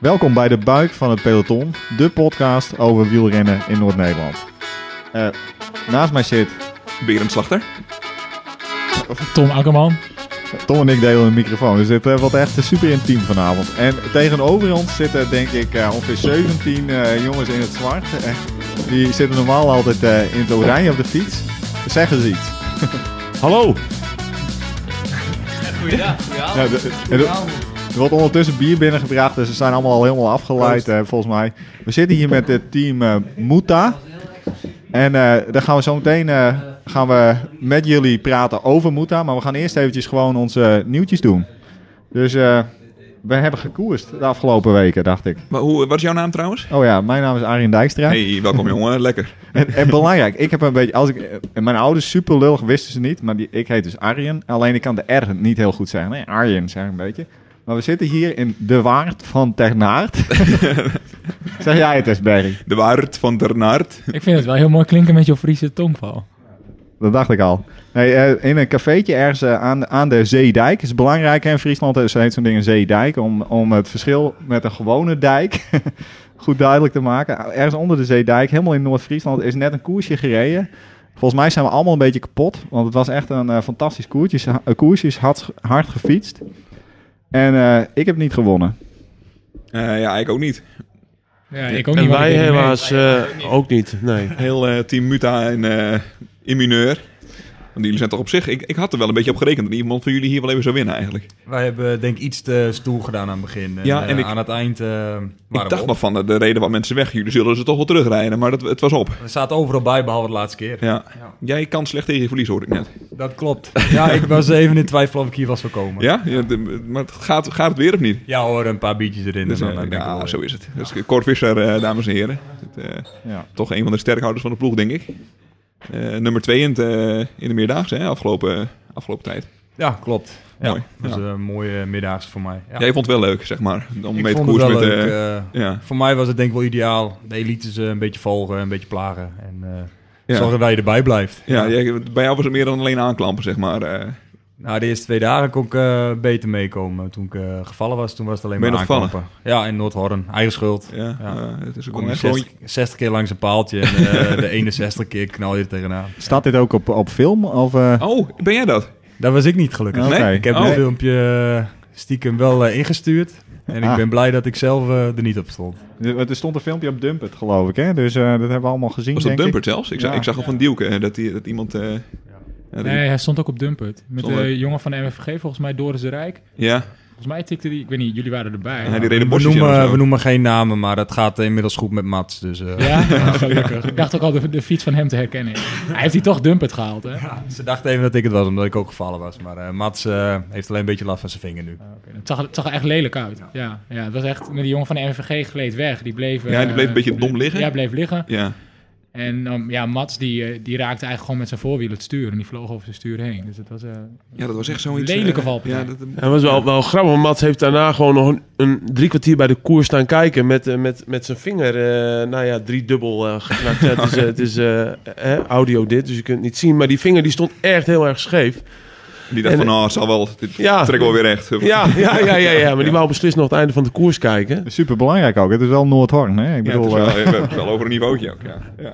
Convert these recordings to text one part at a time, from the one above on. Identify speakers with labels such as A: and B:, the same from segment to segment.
A: Welkom bij de Buik van het Peloton, de podcast over wielrennen in Noord-Nederland. Eh, naast mij zit
B: Berem Slachter.
C: Tom Akkerman.
A: Tom en ik delen een microfoon, dus dit eh, wordt echt super intiem vanavond. En tegenover ons zitten denk ik eh, ongeveer 17 eh, jongens in het zwart. Eh, die zitten normaal altijd eh, in het oranje op de fiets. Zeg eens iets.
B: Hallo.
D: Goeiedag.
A: Ja, de- er- er wordt ondertussen bier binnengebracht, dus ze zijn allemaal al helemaal afgeleid eh, volgens mij. We zitten hier met het team eh Muta. En eh dan gaan we zo meteen eh, gaan we met jullie praten over Muta. Maar we gaan eerst eventjes gewoon onze eh, nieuwtjes doen. Dus eh, we hebben gekoerst de afgelopen weken, dacht ik.
B: Maar hoe, wat is jouw naam trouwens?
A: Oh ja, mijn naam is Arjen Dijkstra.
B: Hey, welkom jongen. Lekker.
A: En, en belangrijk, ik heb een beetje. Als ik, eh, mijn ouders super lullig wisten ze niet, maar die, ik heet dus Arjen. Alleen ik kan de R niet heel goed zeggen. Nee, Arjen zeg ik een beetje. Maar we zitten hier in de waard van Ternaard. zeg jij het eens, Berry?
B: De waard van Ternaard.
C: Ik vind het wel heel mooi klinken met jouw Friese tongval.
A: Dat dacht ik al. Nee, eh, in een cafeetje ergens eh, aan, aan de zeedijk. is belangrijk hè, in Friesland, eh, zo heet zo'n ding een zeedijk. Om, om het verschil met een gewone dijk goed duidelijk te maken. Ergens onder de zeedijk, helemaal in Noord-Friesland, is net een koersje gereden. Volgens mij zijn we allemaal een beetje kapot. Want het was echt een eh, fantastisch koertje. Ze- eh, koersje is hard, hard gefietst. En eh, ik heb niet gewonnen.
B: Eh, ja, ik ook niet.
C: Ja, ik ook
E: en
C: want ik
E: wij
C: deed niet mee.
E: helaas eh, ook niet. Nee.
B: Heel eh, team Muta en eh in mineur. Want jullie zijn toch op zich... Ik, ik had er wel een beetje op gerekend dat iemand van jullie hier wel even zou winnen eigenlijk.
D: Wij hebben denk ik iets te stoer gedaan aan het begin. En,
B: Ja,
D: eh,
B: en ik-
D: aan het eind eh, waren
B: ik
D: we
B: dacht
D: op.
B: nog van eh, de reden wat mensen weg. Jullie zullen ze toch wel terugrijden, maar dat, het was op.
D: Er staat overal bij, behalve de laatste keer.
B: Ja.
D: Ja.
B: Jij kan slecht tegen je verlies, hoor ik net.
D: Dat klopt. Ja, ik was even in twijfel of ik hier was gekomen.
B: Ja? ja de- maar het gaat, gaat het weer of niet?
D: Ja hoor, een paar biertjes erin.
B: Dus,
D: en
B: eh,
D: dan, eh, ben ik wel
B: ja,
D: weer.
B: zo is het. Dus Cor Visser, eh, dames en heren. Het, eh,
A: Ja.
B: toch een van de sterkhouders van de ploeg, denk ik. Eh, nummer twee in, het, eh, in de meerdaagse, hè, afgelopen, afgelopen tijd.
D: ja, klopt. Ja.
B: Mooi.
D: Dat was
B: Ja.
D: een mooie middags voor mij. Ja.
B: Jij vond het wel leuk, zeg maar. Om
D: ik
B: mee te
D: vond het
B: koersen
D: wel
B: met...
D: leuk.
B: eh,
D: eh,
B: ja.
D: voor mij was het denk ik wel ideaal. De elites eh, een beetje volgen, een beetje plagen. En eh
B: Ja.
D: zorgen dat je erbij blijft.
B: Ja, jij- bij jou was het meer dan alleen aanklampen, zeg maar. eh.
D: Nou, de eerste twee dagen kon ik eh, beter meekomen. Toen ik eh, gevallen was, toen was het alleen
B: Ben
D: maar
B: je nog gevallen?
D: aanklampen. Ja, in Noordhorn. Eigen schuld.
B: ja,
D: Ja.
B: eh, het is ook
D: Kom
B: een
D: je
B: gewoon...
D: 60, 60 keer langs een paaltje en eh, de 61 keer knal je er tegenaan.
A: Staat dit ook op, op film? Of, eh,
B: Oh, ben jij dat?
D: Dat was ik niet gelukkig.
A: oké.
B: nee,
D: Ik heb
B: Oh.
D: een filmpje stiekem wel eh, ingestuurd. En ik
A: Ah.
D: ben blij dat ik zelf eh, er niet op stond.
A: Er stond een filmpje op Dumpet, geloof ik. Hè? Dus eh, dat hebben we allemaal gezien.
B: Was dat
A: denk ik.
B: Dumpert zelfs? Ik, zag,
A: Ja.
B: ik zag al van Dielke eh, dat, die, dat iemand... eh, ja, dat die-
C: Nee, hij stond ook op Dumpert. Met
B: Stond er-
C: de jongen van de MFG, volgens mij Doris de Rijk.
B: ja,
C: Volgens mij tikte die, ik weet niet, jullie waren erbij.
B: en hij die
C: Maar-
B: reden
D: We
B: bosjes in of
D: noemen,
B: zo.
D: we noemen geen namen, maar dat gaat inmiddels goed met Mats. Dus, eh,
C: Ja, Oh, gelukkig. Ik dacht ook al de, de fiets van hem te herkennen. Hij heeft die toch Dumpert gehaald, hè?
D: ja, Ze dacht even dat ik het was, omdat ik ook gevallen was. Maar eh, Mats eh, heeft alleen een beetje last van zijn vinger nu.
C: Het, zag, het zag er echt lelijk uit. Ja, ja het was echt, die jongen van de MVG gleed weg. Die bleef,
B: Ja, die bleef
C: eh,
B: een beetje dom liggen.
C: Ja, bleef liggen.
B: Ja,
C: En ehm, ja, Mats die, eh, die raakte eigenlijk gewoon met zijn voorwiel het stuur. En die vloog over zijn stuur heen. Dus het was... eh,
B: ja, dat was echt zoiets...
C: Lelijke
B: eh,
C: valpartij.
B: Ja, dat,
E: Dat was wel, wel grappig. want Mats heeft daarna gewoon nog een, een drie kwartier bij de koers staan kijken. Met, eh, met, met zijn vinger, eh, nou ja, drie dubbel geknakt. Ja, het is, eh, het is eh, eh, audio dit, dus je kunt het niet zien. Maar die vinger die stond echt heel erg scheef.
B: die dacht
E: En-
B: van, oh, het zal wel... Dit
E: Ja.
B: trek wel weer recht.
E: Ja, ja, ja, ja, ja, maar die wou beslist nog het einde van de koers kijken.
A: Super belangrijk ook. Het is wel Noordhorn. Hè? Ik
B: Ja, het
A: bedoel,
B: is
A: eh,
B: wel, we hebben het wel over een niveautje ook, ja. ja.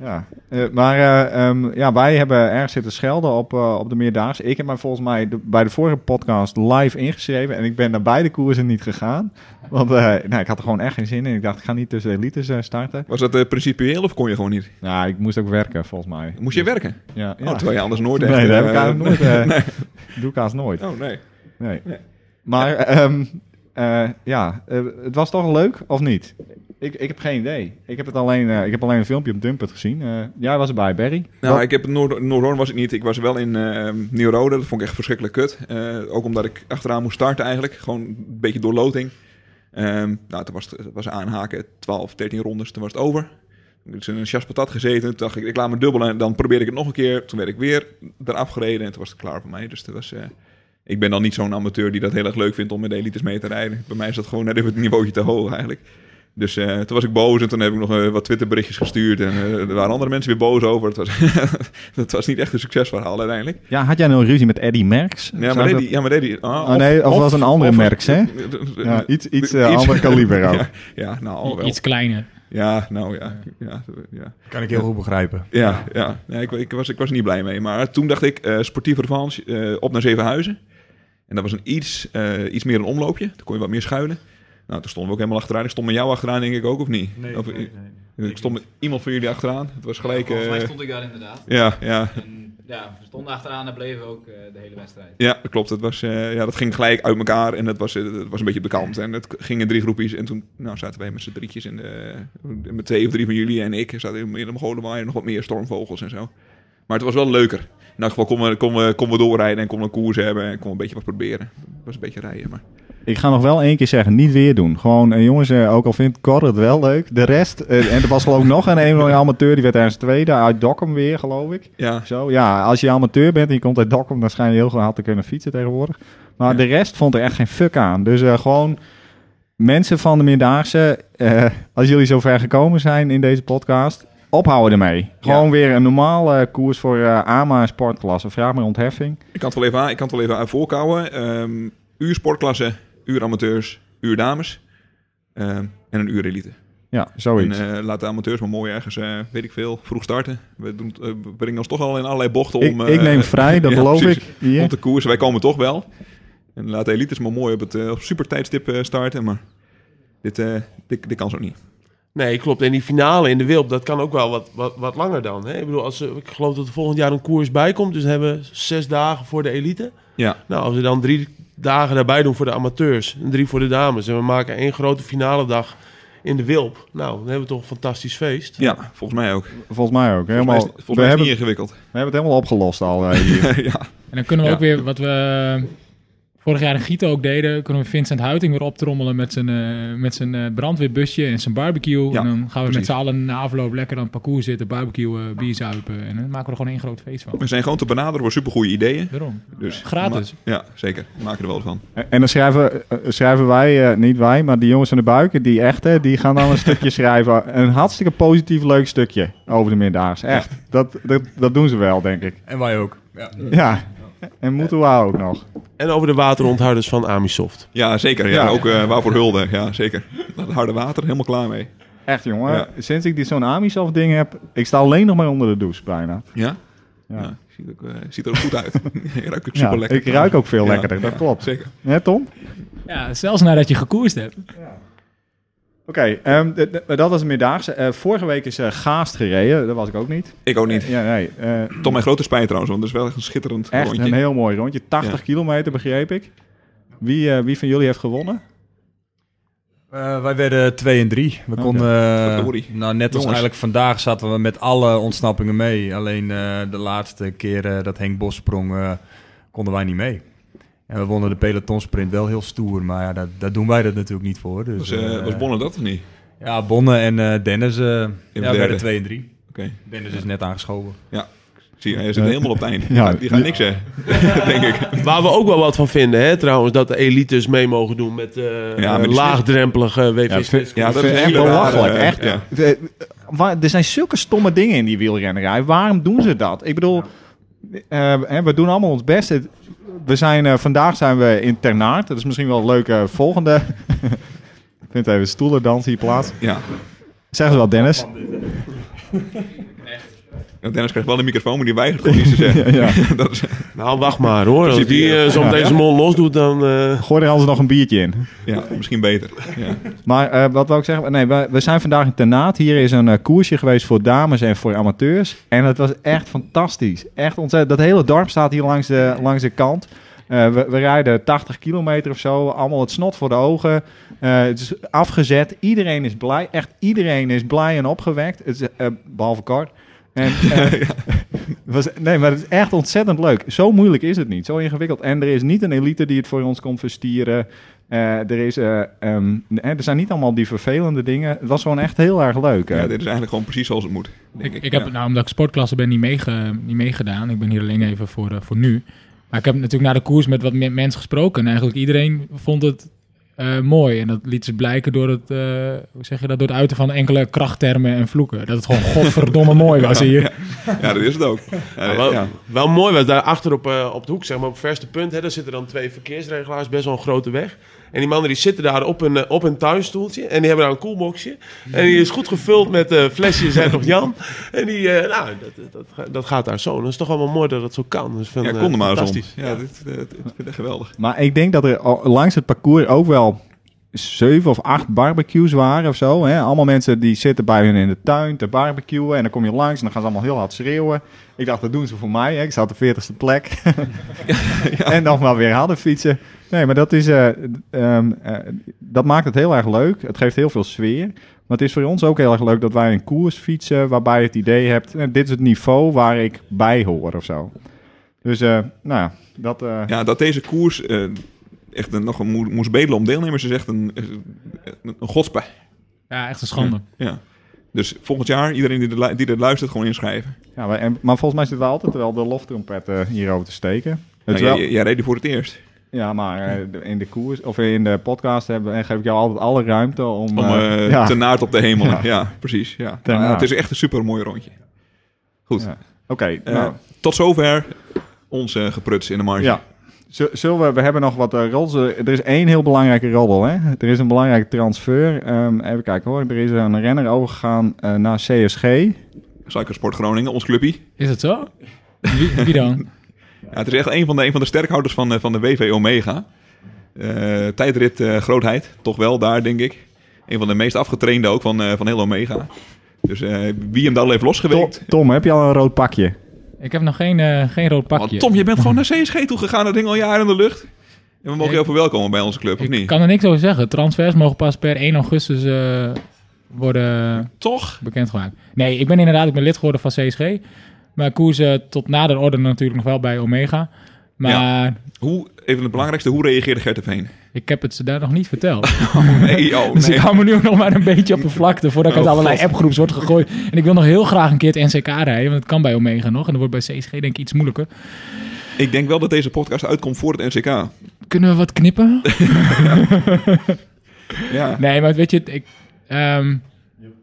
A: Ja, eh, maar eh, ehm, ja, wij hebben erg zitten schelden op, eh, op de meerdaagse. Ik heb mij volgens mij de- bij de vorige podcast live ingeschreven en ik ben naar beide koersen niet gegaan. Want eh, nou, ik had er gewoon echt geen zin in. Ik dacht, ik ga niet tussen de elites eh, starten.
B: Was dat eh, principieel of kon je gewoon niet?
A: Nou, ik moest ook werken volgens mij.
B: Moest je werken?
A: Ja,
B: Oh,
A: ja.
B: terwijl je anders nooit echt...
A: nee, dat heb ik
B: eh,
A: eigenlijk nooit. eh, Doe ik haast nooit.
B: Oh, nee.
A: Nee.
B: Nee.
A: Maar ehm, eh, ja, eh, het was toch leuk of niet? Ik, ik heb geen idee. Ik heb, het alleen, eh, ik heb alleen een filmpje op Dumpet gezien. Eh, jij was erbij, Barry.
B: Nou,
A: Wat-
B: ik heb Noord- Noordhoorn was ik niet. Ik was wel in eh Nieuw-Rode. Dat vond ik echt verschrikkelijk kut. Eh, ook omdat ik achteraan moest starten eigenlijk. Gewoon een beetje door loting. Ehm, nou, toen was het, het was aanhaken 12, 13 rondes. Toen was het over. Toen is in een chas patat gezeten. Toen dacht ik, ik laat me dubbelen. Dan probeerde ik het nog een keer. Toen werd ik weer eraf gereden. En toen was het klaar voor mij. Dus dat was... eh, ik ben dan niet zo'n amateur die dat heel erg leuk vindt om met de elites mee te rijden. Bij mij is dat gewoon net even het niveautje te hoog eigenlijk. Dus eh, toen was ik boos en toen heb ik nog eh, wat Twitterberichtjes gestuurd. En eh, er waren andere mensen weer boos over. Het was, dat was niet echt een succesverhaal uiteindelijk.
A: Ja, had jij nou ruzie met Eddie Merckx?
B: Ja,
A: Zou
B: maar
A: dat-
B: Reddy... Ja, maar Reddy ah,
A: Oh nee, of, was een andere
B: of-
A: Merckx, hè? Ja, iets iets eh, ander kaliber ook.
B: ja, ja, nou, al wel.
C: Iets kleiner.
B: Ja, nou ja. Ja, ja.
D: Kan ik heel goed begrijpen.
B: ja, ja. Nee, ik, ik was, ik was er niet blij mee. Maar toen dacht ik, eh sportieve revanche, eh, op naar Zevenhuizen. En dat was een iets, eh, iets meer een omloopje. Toen kon je wat meer schuilen. Nou, toen stonden we ook helemaal achteraan. Ik stond met jou achteraan, denk ik ook, of niet? Of- Ik stond met iemand van jullie achteraan. Het was gelijk...
F: Volgens mij
B: eh,
F: stond ik daar inderdaad.
B: ja, ja,
F: En ja, we stonden achteraan en bleven ook eh, de hele wedstrijd.
B: Ja, dat klopt. Dat, was, eh, ja, dat ging gelijk uit elkaar en dat was, eh, dat was een beetje op de kant. En dat ging in drie groepjes. En toen nou, zaten wij met z'n drietjes in de, eh, met twee of drie van jullie en ik zaten in de Mogolenwaai en nog wat meer stormvogels en zo. Maar het was wel leuker. In elk geval konden we, konden we, konden we doorrijden en konden we een koers hebben en konden we een beetje wat proberen. Het was een beetje rijden, maar...
A: Ik ga nog wel één keer zeggen, niet weer doen. Gewoon, eh, jongens, eh, ook al vindt Cor het wel leuk. De rest, eh, en er was geloof ik nog een een amateur, die werd ergens tweede uit Dokkum weer, geloof ik.
B: Ja,
A: Zo, ja, als je amateur bent en je komt uit Dokkum, dan schijn je heel hard te kunnen fietsen tegenwoordig. Maar
B: Ja.
A: de rest vond er echt geen fuck aan. Dus eh, gewoon mensen van de Meerdaagse, eh, als jullie zo ver gekomen zijn in deze podcast, ophouden ermee. Gewoon weer een normale koers voor eh, AMA sportklasse. Vraag maar ontheffing.
B: ik kan het wel even, aan- ik kan het wel even aan voorkouwen. Ehm, uur sportklasse, uur amateurs, uur dames ehm, en een uur elite.
A: Ja, zoiets.
B: En eh, laat de amateurs maar mooi ergens, eh, weet ik veel, vroeg starten. We, doen, eh, we brengen ons toch al in allerlei bochten
A: ik,
B: om...
A: ik
B: eh,
A: neem vrij, dat
B: ja,
A: beloof
B: precies.
A: ik. Hier.
B: Om te koersen, wij komen toch wel. En laat de elites maar mooi op het eh, op super tijdstip eh, starten, maar dit, eh, dit, dit kan zo niet.
E: Nee, klopt. En die finale in de Wilp, dat kan ook wel wat, wat, wat langer dan. Hè? Ik bedoel, als, ze- ik geloof dat er volgend jaar een koers bij komt. Dus hebben we zes dagen voor de elite.
B: Ja,
E: Nou, als we dan drie dagen daarbij doen voor de amateurs en drie voor de dames. En we maken één grote finale dag in de Wilp. Nou, dan hebben we toch een fantastisch feest.
B: ja volgens mij ook.
A: Volgens mij ook.
B: Volgens mij
A: Helemaal,
B: is, volgens
A: we,
B: mij is het
A: hebben,
B: niet ingewikkeld.
A: we hebben het helemaal opgelost al eh, hier.
B: ja.
C: En dan kunnen we
B: Ja.
C: ook weer, wat we vorig jaar in Gieten ook deden, kunnen we Vincent Huiting weer optrommelen met zijn, eh, met zijn eh, brandweerbusje en zijn barbecue.
B: Ja,
C: en dan gaan we met
B: precies.
C: z'n allen na afloop lekker aan het parcours zitten, barbecue, eh, bier zuipen. En dan maken we er gewoon één groot feest van.
B: We zijn gewoon te benaderen voor supergoeie ideeën.
C: Daarom.
B: Dus,
C: Gratis.
B: Ma- ja, zeker. We maken er wel van.
A: En dan schrijven, eh, schrijven wij, eh, niet wij, maar die jongens van de buiken, die echte, die gaan dan een stukje schrijven. Een hartstikke positief leuk stukje over de middaags. Echt. Dat, dat, dat doen ze wel, denk ik.
D: En wij ook. Ja.
A: Ja. En moeten we ook nog.
E: En over de wateronthouders van Amisoft.
B: Ja, zeker. Ja,
A: Ja.
B: Ook eh, waarvoor hulde. Ja, zeker. Dat harde water, helemaal klaar mee.
A: Echt, jongen.
B: Ja.
A: Sinds ik die zo'n Amisoft ding heb, ik sta alleen nog maar onder de douche bijna.
B: Ja?
A: Ja.
B: Ja. ziet, ook, eh, ziet er ook goed uit. Je ruikt ook
A: Ja,
B: super lekker.
A: ik ruik ook veel
B: Ja,
A: lekkerder, dat
B: ja,
A: klopt.
B: Zeker.
A: Hè, Tom?
C: Ja, zelfs nadat je gekoerst hebt.
A: Oké, ehm, d- d- dat was de middagse. Eh, vorige week is eh, Gaast gereden, dat was ik ook niet.
B: Ik ook niet.
A: Ja, nee. eh,
B: Tot mijn grote spijt trouwens, want het is wel echt een schitterend
A: Echt
B: rondje.
A: een heel mooi rondje. 80
B: Ja.
A: kilometer begreep ik. Wie, eh, wie van jullie heeft gewonnen?
D: Eh, wij werden 2 en 3. We
B: Oh,
A: Oké.
D: konden. eh,
B: Verdorie.
D: nou, net als
B: Jongens.
D: eigenlijk vandaag zaten we met alle ontsnappingen mee. Alleen eh, de laatste keer eh, dat Henk Bos sprong, eh, konden wij niet mee. En we wonnen de pelotonsprint wel heel stoer, maar ja, dat, daar doen wij dat natuurlijk niet voor. Dus,
B: Was, eh
D: eh,
B: was Bonne dat of niet?
D: Ja, Bonne en eh, Dennis eh, ja,
B: derde.
D: werden 2 en 3.
B: Oké.
D: Dennis is net aangeschoven.
B: Zie je, hij zit helemaal op het eind.
A: Eh, Ja.
B: die gaat niks zeggen, denk ik.
E: Waar we ook wel wat van vinden, hè, trouwens, dat de elites mee mogen doen met eh
B: Ja, maar die-
E: laagdrempelige
A: Ja,
E: WV's.
A: vind-
B: Ja, dat
A: vind
B: is
A: ik
B: hele
A: echt
B: rare,
A: belachelijk,
B: eh,
A: echt.
B: ja.
A: Eh, waar- er zijn zulke stomme dingen in die wielrennerij. Waarom doen ze dat? Ik bedoel, eh, hè, we doen allemaal ons best. Het- We zijn, eh, vandaag zijn we in Ternaard. Dat is misschien wel een leuke volgende. Vindt even stoelendans hier plaats.
B: Ja.
A: Zeg eens wat, Dennis.
B: En Dennis krijgt wel de microfoon, maar die weigert gewoon iets te zeggen.
A: Ja,
B: dat is,
E: Nou, wacht maar hoor. Als die eh, zo meteen
A: Ja.
E: zijn mond los doet, dan... eh,
A: Gooi er anders nog een biertje in.
B: ja, misschien beter. Ja.
A: Maar eh, wat wil ik zeggen? Nee, we, we zijn vandaag in Tenaat. Hier is een eh, koersje geweest voor dames en voor amateurs. En het was echt fantastisch. Echt ontzettend. Dat hele dorp staat hier langs de, langs de kant. Eh, we, we rijden 80 kilometer of zo. Allemaal het snot voor de ogen. Eh, het is afgezet. Iedereen is blij. Echt iedereen is blij en opgewekt. Het is, eh, behalve Cor. En, eh, was, nee, maar het is echt ontzettend leuk. Zo moeilijk is het niet. Zo ingewikkeld. En er is niet een elite die het voor ons komt verstieren. Eh, er, is, eh, ehm, eh, er zijn niet allemaal die vervelende dingen. Het was gewoon echt heel erg leuk.
B: Ja,
A: eh.
B: dit is eigenlijk gewoon precies zoals het moet. Denk ik,
C: Ik heb,
B: ja.
C: nou, omdat ik sportklasse ben, niet, meege, niet meegedaan. Ik ben hier alleen even voor, eh, voor nu. Maar ik heb natuurlijk na de koers met wat me- mensen gesproken. En eigenlijk iedereen vond het eh, eh, mooi. En dat liet ze blijken door het, eh, hoe zeg je dat, door het uiten van enkele krachttermen en vloeken. Dat het gewoon godverdomme mooi was hier.
B: Ja, dat is het ook. Eh,
E: Ja,
B: Ja,
E: wel,
B: ja.
E: wel mooi, want daar achter op, eh, op de hoek, zeg maar, op het verste punt, hè, daar zitten dan twee verkeersregelaars, best wel een grote weg. En die mannen die zitten daar op een, eh, op een tuinstoeltje en die hebben daar een koelboxje. En die is goed gevuld met eh, flesjes en nog Jan. En die, eh, nou, dat, dat, dat, ga- dat gaat daar zo. Dat is toch allemaal mooi dat het zo kan. Dat vind,
B: Ja,
E: ik, eh,
B: kom er maar eens om.
E: fantastisch.
B: Ja, dit, eh, dit- ik vind het echt geweldig.
A: Maar ik denk dat er al- langs het parcours ook wel zeven of acht barbecues waren of zo. Hè? Allemaal mensen die zitten bij hun in de tuin te barbecuen. En dan kom je langs en dan gaan ze allemaal heel hard schreeuwen. Ik dacht, dat doen ze voor mij. Hè? Ik zat op de 40ste plek. En dan maar weer hadden fietsen. Nee, maar dat, is, eh, d- ehm, eh, dat maakt het heel erg leuk. Het geeft heel veel sfeer. Maar het is voor ons ook heel erg leuk dat wij een koers fietsen... waarbij je het idee hebt, eh, dit is het niveau waar ik bij hoor of zo. Dus, eh, nou ja, dat... eh,
B: Ja, dat deze koers eh, echt een, nog een moe- moest bedelen om deelnemers is echt een, is een, een godspij.
C: Ja, echt een schande.
B: Ja. Dus volgend jaar, iedereen die, er lu- die dit luistert, gewoon inschrijven.
A: Ja, maar, en, maar volgens mij zitten we altijd wel de loftrompet eh, hierover te steken. Het
B: Nou,
A: wel,
B: jij, jij reed die voor het eerst.
A: ja, maar eh, de- in de koers of in de podcast hebben, en geef ik jou altijd alle ruimte om.
B: Om
A: eh,
B: eh,
A: ja.
B: te
A: Oké,
B: naad op de hemel.
A: Ja.
B: Ja, precies. Ja.
A: Ten
B: Nou,
A: naad.
B: het is echt een super mooi rondje. Goed.
A: Ja.
B: Eh,
A: nou,
B: Tot zover ons eh, gepruts in de marge.
A: ja. Z- Zullen we, we hebben nog wat eh roddels. Eh, Er is één heel belangrijke roddel, hè? Er is een belangrijke transfer. Ehm, even kijken hoor. Er is een renner overgegaan eh, naar CSG.
B: Cyclersport Groningen, ons clubje.
C: Is het zo? Wie, wie dan?
B: Ja, het is echt een van de, een van de sterkhouders van, eh, van de WV Omega. Eh, tijdrit eh, grootheid, toch wel daar, denk ik. Een van de meest afgetrainde ook van, eh, van heel Omega. Dus eh, wie hem daar al heeft
A: Tom,
B: losgeweekt.
A: Tom, heb je al een rood pakje?
C: Ik heb nog geen, eh, geen rood
B: Want
C: pakje.
B: Tom, je bent gewoon naar CSG toe gegaan. Dat ding al jaren in de lucht. En we mogen
C: Ik-
B: je verwelkomen bij onze club, of
C: Ik
B: niet?
C: kan er niks over zeggen. Transfers mogen pas per 1 augustus eh, worden
B: Toch?
C: bekendgemaakt. Nee, ik ben inderdaad ik ben lid geworden van CSG. Maar koersen tot nader orde natuurlijk nog wel bij Omega. Maar
B: Hoe, even het belangrijkste, hoe reageerde Gert de Veen?
C: ik heb het ze daar nog niet verteld.
B: Nee, oh,
C: Dus
B: nee.
C: ik hou me nu nog maar een beetje op de vlakte voordat ik uit
B: Oh,
C: allerlei
B: God.
C: appgroeps word gegooid. En ik wil nog heel graag een keer het NCK rijden, want het kan bij Omega nog. En dat wordt bij CSG denk ik iets moeilijker.
B: Ik denk wel dat deze podcast uitkomt voor het NCK.
C: Kunnen we wat knippen?
B: Ja.
C: Nee, maar weet je, ik, ehm,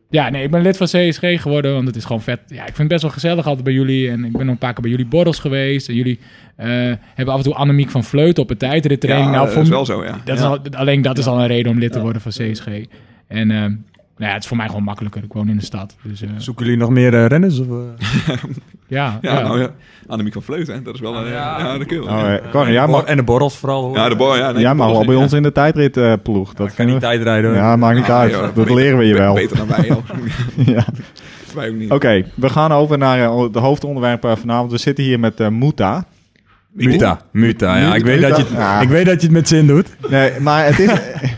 C: ja, nee, ik ben lid van CSG geworden, want het is gewoon vet. Ja, ik vind het best wel gezellig altijd bij jullie. En ik ben nog een paar keer bij jullie borrels geweest. En jullie eh, hebben af en toe Annemiek van Vleut op het tijdrittraining.
B: Ja,
C: nou,
B: dat is wel zo, ja.
C: dat is
B: Ja.
C: al- alleen dat is al een reden om lid te worden van CSG. En ehm, nou ja, het is voor mij gewoon makkelijker. Ik woon in de stad. Dus eh,
D: Zoeken jullie nog meer eh, renners? Of, eh?
C: ja,
B: Ja,
C: ja.
B: nou ja. Annemiek van Vleut, hè. Dat is wel... een- ja. dat kun je wel.
A: Nou,
B: ja.
A: eh, Cor, jij mag,
D: en de borrels vooral. Hoor.
B: Ja, de boy, ja. nee,
A: jij mag wel bij
B: ja.
A: ons in de tijdritploeg. ploeg. dat
D: Dat kan niet
A: vinden we-
D: tijdrijden. hoor.
A: Ja, maakt niet
B: Ah,
A: uit.
B: joh,
A: dat
B: beter-
A: leren we je
B: be-
A: wel.
B: Beter dan wij, joh.
A: Ja.
B: Wij ook niet.
A: Oké, we gaan over naar eh, het hoofdonderwerp eh, vanavond. We zitten hier met eh Muta.
D: Muta. Muta, ja. Ik weet,
A: Muta.
D: dat je het,
A: Ja.
D: ik weet dat je het met zin doet.
A: Nee, maar het is... eh,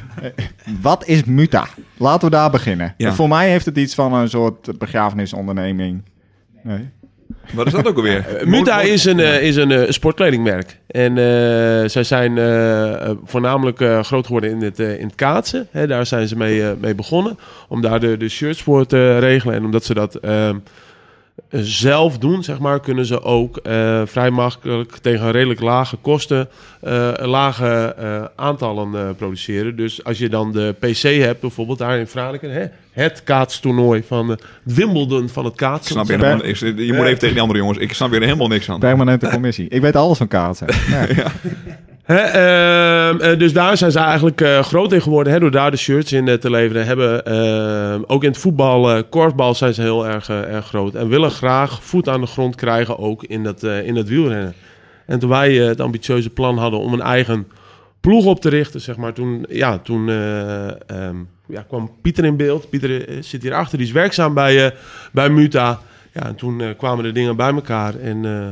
A: Wat is Muta? Laten we daar beginnen.
B: Ja.
A: Voor mij heeft het iets van een soort begrafenisonderneming. Nee.
B: Wat is dat ook alweer?
E: Eh, Muta is een, eh, is een eh, sportkledingmerk. En eh, zij zijn eh, eh, voornamelijk eh, groot geworden in het, eh, in het kaatsen. Hè, daar zijn ze mee, eh, mee begonnen. Om daar de, de shirts voor te regelen. En omdat ze dat ehm, zelf doen, zeg maar, kunnen ze ook eh, vrij makkelijk tegen redelijk lage kosten eh, lage eh, aantallen eh, produceren. Dus als je dan de PC hebt, bijvoorbeeld daar in Franeker, hè, het kaatstoernooi van eh, Wimbledon van het
B: Ik
E: kaatsen.
B: snap weer helemaal niks. Je
E: Eh.
B: moet even tegen die andere jongens. Ik snap weer helemaal niks van.
A: Permanente commissie. Ik weet alles van kaarten. Nee.
E: Hè, ehm, eh, dus daar zijn ze eigenlijk eh, groot in geworden. Hè, door daar de shirts in eh, te leveren. Hebben, ehm, ook in het voetbal, eh korfbal zijn ze heel erg, eh, erg groot. En willen graag voet aan de grond krijgen ook in dat, eh, in dat wielrennen. En toen wij eh, het ambitieuze plan hadden om een eigen ploeg op te richten, zeg maar. Toen, ja, toen eh, ehm, ja, kwam Pieter in beeld. Pieter eh, zit hierachter, die is werkzaam bij, eh, bij Muta. Ja, en toen eh, kwamen de dingen bij elkaar en eh,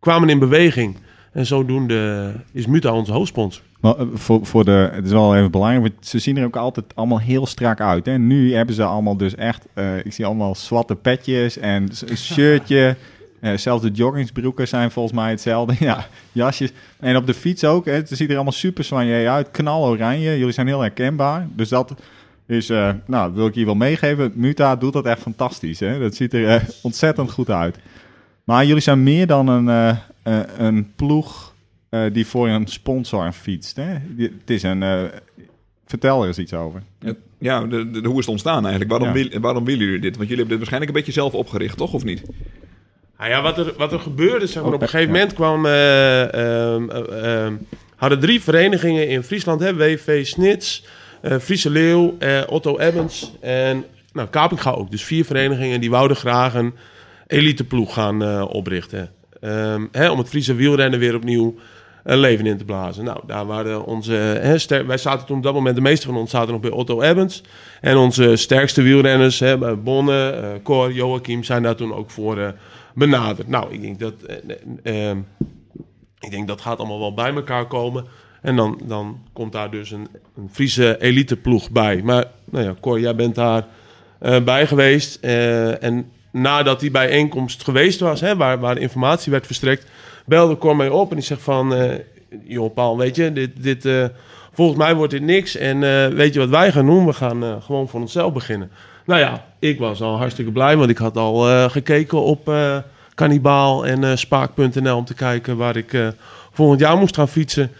E: kwamen in beweging. En zodoende is Muta onze hoofdsponsor.
A: Maar eh, voor, voor de, het is wel even belangrijk, want ze zien er ook altijd allemaal heel strak uit. Hè? Nu hebben ze allemaal dus echt, eh, ik zie allemaal zwarte petjes en s- een shirtje. Eh, zelfs de joggingsbroeken zijn volgens mij hetzelfde. Ja, jasjes. En op de fiets ook. Hè? Het ziet er allemaal super soigné uit. Knaloranje. Jullie zijn heel herkenbaar. Dus dat is, eh, nou, dat wil ik hier wel meegeven. Muta doet dat echt fantastisch. Hè? Dat ziet er eh, ontzettend goed uit. Maar jullie zijn meer dan een, eh, eh, een ploeg eh, die voor een sponsor fietst. Hè? Die- Het is een, eh, Vertel er eens iets over.
B: Ja, de, de- de- hoe is het ontstaan eigenlijk? Waarom,
A: Ja.
B: wil- waarom willen jullie dit? Want jullie hebben dit waarschijnlijk een beetje zelf opgericht, toch? Of niet?
E: Nou ja, wat er, wat er gebeurde, zeg maar,
A: Oh,
E: op een
A: pe-
E: gegeven
A: ja.
E: moment kwam... eh, ehm, eh, ehm, hadden drie verenigingen in Friesland, hè, WV Snits, eh, Friese Leeuw, eh, Otto Ebbens en nou, Kapinga ook. Dus vier verenigingen die wouden graag een eliteploeg gaan eh, oprichten. Ehm, hè, om het Friese wielrennen weer opnieuw een leven in te blazen. Nou, daar waren onze... Hè, ster- wij zaten toen op dat moment, de meeste van ons zaten nog bij Otto Ebbens. En onze sterkste wielrenners, hè, bij Bonne, eh Cor, Joachim, zijn daar toen ook voor... eh, benaderd. Nou, ik denk dat, eh, eh, ik denk dat gaat allemaal wel bij elkaar komen. En dan, dan komt daar dus een, een Friese eliteploeg bij. Maar nou ja, Cor, jij bent daar eh, bij geweest. eh, en nadat die bijeenkomst geweest was, hè, waar, waar informatie werd verstrekt, belde Cor mij op en die zegt van... eh joh, Paul, weet je, dit, dit, eh, volgens mij wordt dit niks. En eh, weet je wat wij gaan doen? We gaan eh, gewoon voor onszelf beginnen. Nou ja, ik was al hartstikke blij, want ik had al eh, gekeken op eh Cannibaal en eh, Spaak.nl om te kijken waar ik eh, volgend jaar moest gaan fietsen.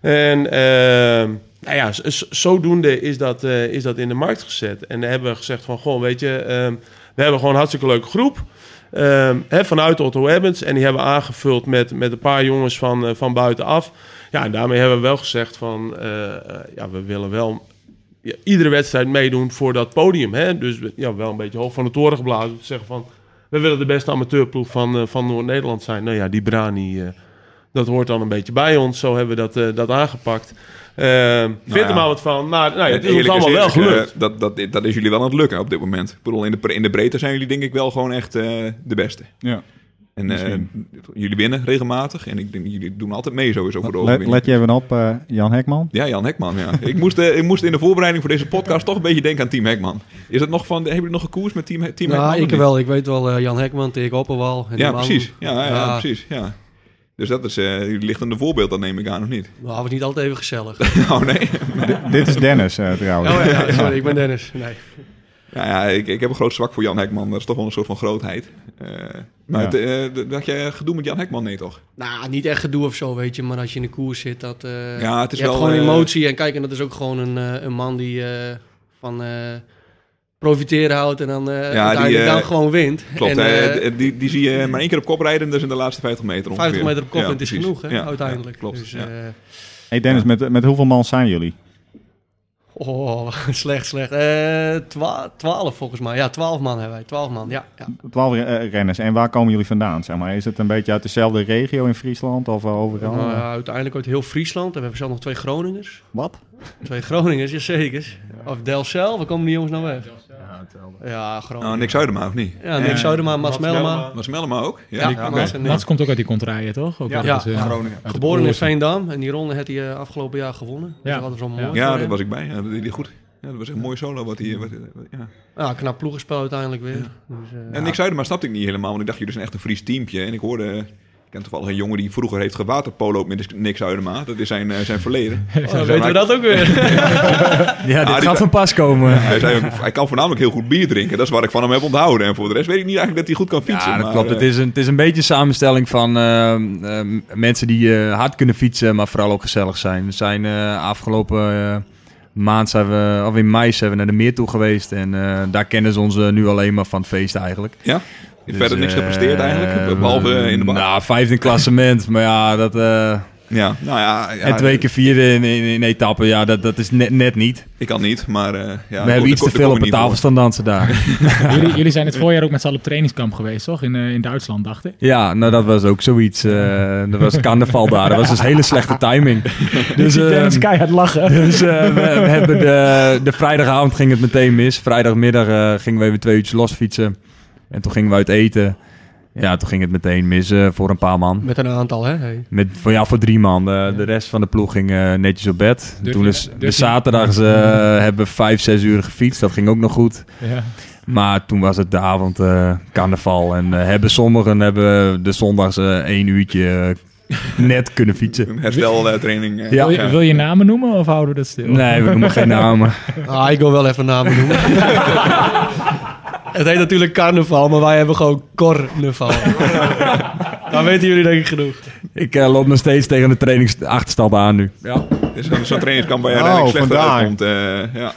E: En ehm, nou ja, z- z- zodoende is dat, eh, is dat in de markt gezet. En hebben we gezegd van, goh, weet je, ehm, we hebben gewoon een hartstikke leuke groep. ehm, hè, vanuit Otto Hebbens. En die hebben we aangevuld met, met een paar jongens van, eh, van buitenaf. Ja, en daarmee hebben we wel gezegd van... eh, eh, ja, we willen wel ja, iedere wedstrijd meedoen voor dat podium. Hè? Dus ja, wel een beetje hoog van de toren geblazen. Om te zeggen van, we willen de beste amateurploeg van, eh, van Noord-Nederland zijn. Nou ja, die Brani, eh, dat hoort dan een beetje bij ons. Zo hebben we dat, eh, dat aangepakt. Eh vind
B: Nou ja.
E: er maar wat van. Maar nou ja, het is ons
B: Eerlijk
E: allemaal wel
B: eerlijk,
E: gelukt.
B: eh, dat, dat, dat is jullie wel aan het lukken op dit moment. Ik bedoel, in de, pre- in de breedte zijn jullie denk ik wel gewoon echt eh, de beste.
A: Ja.
B: En eh, jullie winnen regelmatig. En ik denk, jullie doen altijd mee sowieso voor de
A: Let,
B: overwinning.
A: let je even op, eh, Jan Hekman.
B: Ja, Jan Hekman. Ja. ik, moest, eh, ik moest in de voorbereiding voor deze podcast toch een beetje denken aan Team Hekman. Is het nog van, hebben jullie nog een koers met Team, He- team
G: Ja,
B: Hekman? of
G: ik
B: niet?
G: wel. Ik weet wel eh, Jan Hekman tegen Opperwal. En
B: Ja,
G: die man.
B: precies. Ja, ja, ja,
G: Ja.
B: precies. Ja. Dus dat is, eh jullie ligt aan de voorbeeld, dat neem ik aan, of niet?
G: Nou, het was niet altijd even gezellig.
B: Oh nee.
A: Dit is Dennis eh,
G: Oh
A: trouwens.
G: ja, ja, sorry, ik ben Dennis. Nee.
B: Ja, ja ik, ik heb een groot zwak voor Jan Hekman. Dat is toch wel een soort van grootheid. Eh, maar
A: Ja.
B: het, eh, d- dat je gedoe met Jan Hekman, nee toch?
G: Nou, niet echt gedoe of zo, weet je. Maar als je in de koers zit, dat... eh,
B: Ja, het is
G: je hebt
B: wel,
G: gewoon
B: eh,
G: emotie. En kijk, en dat is ook gewoon een, eh, een man die eh, van eh, profiteren houdt en dan eh
B: die,
G: uiteindelijk
B: eh,
G: dan gewoon wint.
B: Klopt,
G: en,
B: hè?
G: eh,
B: D- die, die zie je maar één keer op kop rijden, dat is in de laatste 50 meter ongeveer.
G: 50 meter op kop
B: Ja,
G: en het is
B: precies.
G: genoeg, hè,
B: Ja,
G: uiteindelijk.
B: ja, klopt.
G: Dus,
B: ja.
G: eh,
A: Hey Dennis, met, met hoeveel man zijn jullie?
G: oh, slecht, slecht. Eh, twa- 12 volgens mij. Ja, 12 man hebben wij. 12 man, ja. ja.
A: Twaalf eh, renners. En waar komen jullie vandaan? Zeg maar? Is het een beetje uit dezelfde regio in Friesland of eh, overal?
G: Nou ja, uiteindelijk uit heel Friesland. En we hebben zelf nog twee Groningers.
A: Wat?
G: Twee Groningers, jazeker. Of Delcel, waar komen die jongens nou weg? Ja,
B: Oh,
G: Groningen.
B: Nick Zuidema, of niet?
G: Ja, Nick Zoudema, Mats
E: Mats Melma.
G: Melma.
B: Was Melma ook? Ja,
G: Ja,
B: die-
G: ja,
B: oké.
G: Mats en Nick.
C: Mats komt ook uit die contraien, toch? Ook
G: Ja.
C: ergens,
G: Ja,
C: eh,
B: Groningen.
C: uit
G: Geboren in
C: Oerzen.
G: Veendam. En die ronde heeft hij eh, afgelopen jaar gewonnen. Dus
C: Ja.
G: dat was wel mooi.
C: Ja.
G: voor
B: Ja,
G: hem.
B: daar was ik bij. Ja, dat deed hij goed. Ja, dat was echt een mooi solo. Wat hij, wat, wat- ja.
G: Ja, knap ploegenspel uiteindelijk weer. Dus, eh,
B: En Nick Zuidema snapte ik niet helemaal, want ik dacht, jullie zijn echt een Fries teampje. En ik hoorde, ik ken toevallig een jongen die vroeger heeft gewaterpolo'd met Nick Zuidema. Dat is zijn, eh, zijn verleden.
G: oh, dan weten we dat ook weer.
D: Ja, dit
B: die
D: gaat
B: kan-
D: van pas komen.
B: Hij, zei ook, hij kan voornamelijk heel goed bier drinken. Dat is waar ik van hem heb onthouden. En voor de rest weet ik niet eigenlijk dat hij goed kan fietsen.
D: Ja, dat
B: maar,
D: klopt.
B: eh,
D: Het is, een, het is een beetje een samenstelling van ehm, ehm, mensen die eh, hard kunnen fietsen, maar vooral ook gezellig zijn. We zijn eh, afgelopen eh, maand, zijn we, of in mei, zijn we naar de meer toe geweest. En eh, daar kennen ze ons eh, nu alleen maar van het feest eigenlijk.
B: verder
D: Dus,
B: niks
D: eh,
B: gepresteerd eigenlijk, behalve eh, in de bar.
D: Nou, vijfde klassement, maar ja, dat, eh,
B: ja, nou ja, ja,
D: en twee keer vierde in, in, in etappen, ja, dat, dat is net, net niet.
B: Ik kan niet, maar... eh, ja,
D: we hebben iets te veel op de
B: een
D: tafel staan dansen daar.
C: jullie, jullie zijn het voorjaar ook met z'n allen op trainingskamp geweest, toch? In, eh, in Duitsland, dacht ik.
D: ja, nou dat was ook zoiets. eh dat was carnaval daar. Dat was dus hele slechte timing.
C: Dus,
D: Dus,
C: Dennis
D: ehm,
C: keihard lachen.
D: Dus eh, we, we hebben de, de vrijdagavond ging het meteen mis. Vrijdagmiddag eh, gingen we even twee uurtjes losfietsen. En toen gingen we uit eten. Ja, toen ging het meteen mis eh, voor een paar man.
G: Met een aantal, hè. Hey.
D: Met, voor, ja, voor drie man. Eh, De, de rest van de ploeg ging eh, netjes op bed.
C: Durf
D: toen
C: Dus je-
D: is,
C: durf
D: de
C: je-
D: zaterdags eh, hebben we vijf, zes uur gefietst. Dat ging ook nog goed.
C: Ja.
D: Maar toen was het de avond eh, carnaval. En eh, hebben sommigen hebben de zondags eh, één uurtje eh, net kunnen fietsen.
B: Een hersteltraining. eh,
D: Ja.
C: Wil, je, wil je namen noemen of houden we dat stil?
D: Nee, we noemen geen namen.
G: Ah, ik wil wel even namen noemen. het heet natuurlijk carnaval, maar wij hebben gewoon cornaval. Dan weten jullie denk ik genoeg.
D: Ik eh, loop nog steeds tegen de trainingsachterstand aan nu. Ja.
B: is Dus zo'n- zo'n trainingskamp waar je
A: Oh,
B: uiteindelijk slechter
A: vandaar.
B: uitkomt. eh, ja.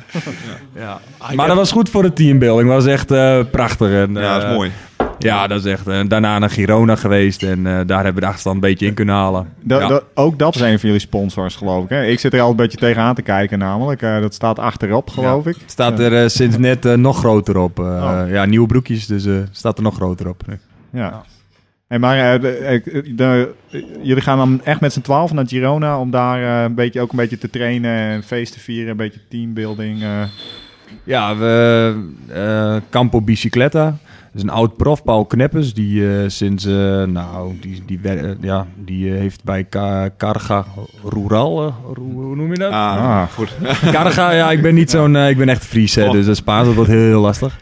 D: Ja. Maar dat was goed voor de teambuilding. Dat was echt eh, prachtig. En,
B: ja, dat
D: eh,
B: is mooi.
D: Ja, dat is echt. eh, daarna naar Girona geweest en eh, daar hebben we de achterstand een beetje in kunnen halen.
A: Da-
D: ja.
A: da- ook dat is een van jullie sponsors, geloof ik. Hè? Ik zit er al een beetje tegenaan te kijken, namelijk. Eh, dat staat achterop, geloof ik.
D: Staat er eh, sinds net eh, nog groter op. eh,
B: Oh.
D: Ja, nieuwe broekjes, dus eh, staat er nog groter op.
A: Ja. En maar eh, de- eh, de- eh, jullie gaan dan echt met z'n twaalf naar Girona om daar eh, een beetje, ook een beetje te trainen en feest te vieren, een beetje teambuilding. eh.
D: Ja, we, eh, Campo Bicicletta. Dat is een oud prof, Paul Kneppers. Die eh, sinds, eh, nou, die, die, wer- eh, ja, die eh, heeft bij Ka- Carga Rural, eh, hoe- hoe noem je dat?
B: Ah,
A: Ah.
B: goed.
D: Carga, ja, ik ben niet zo'n, eh, ik ben echt Fries, hè,
B: Oh.
D: dus dat Spaans dat wordt heel, heel lastig.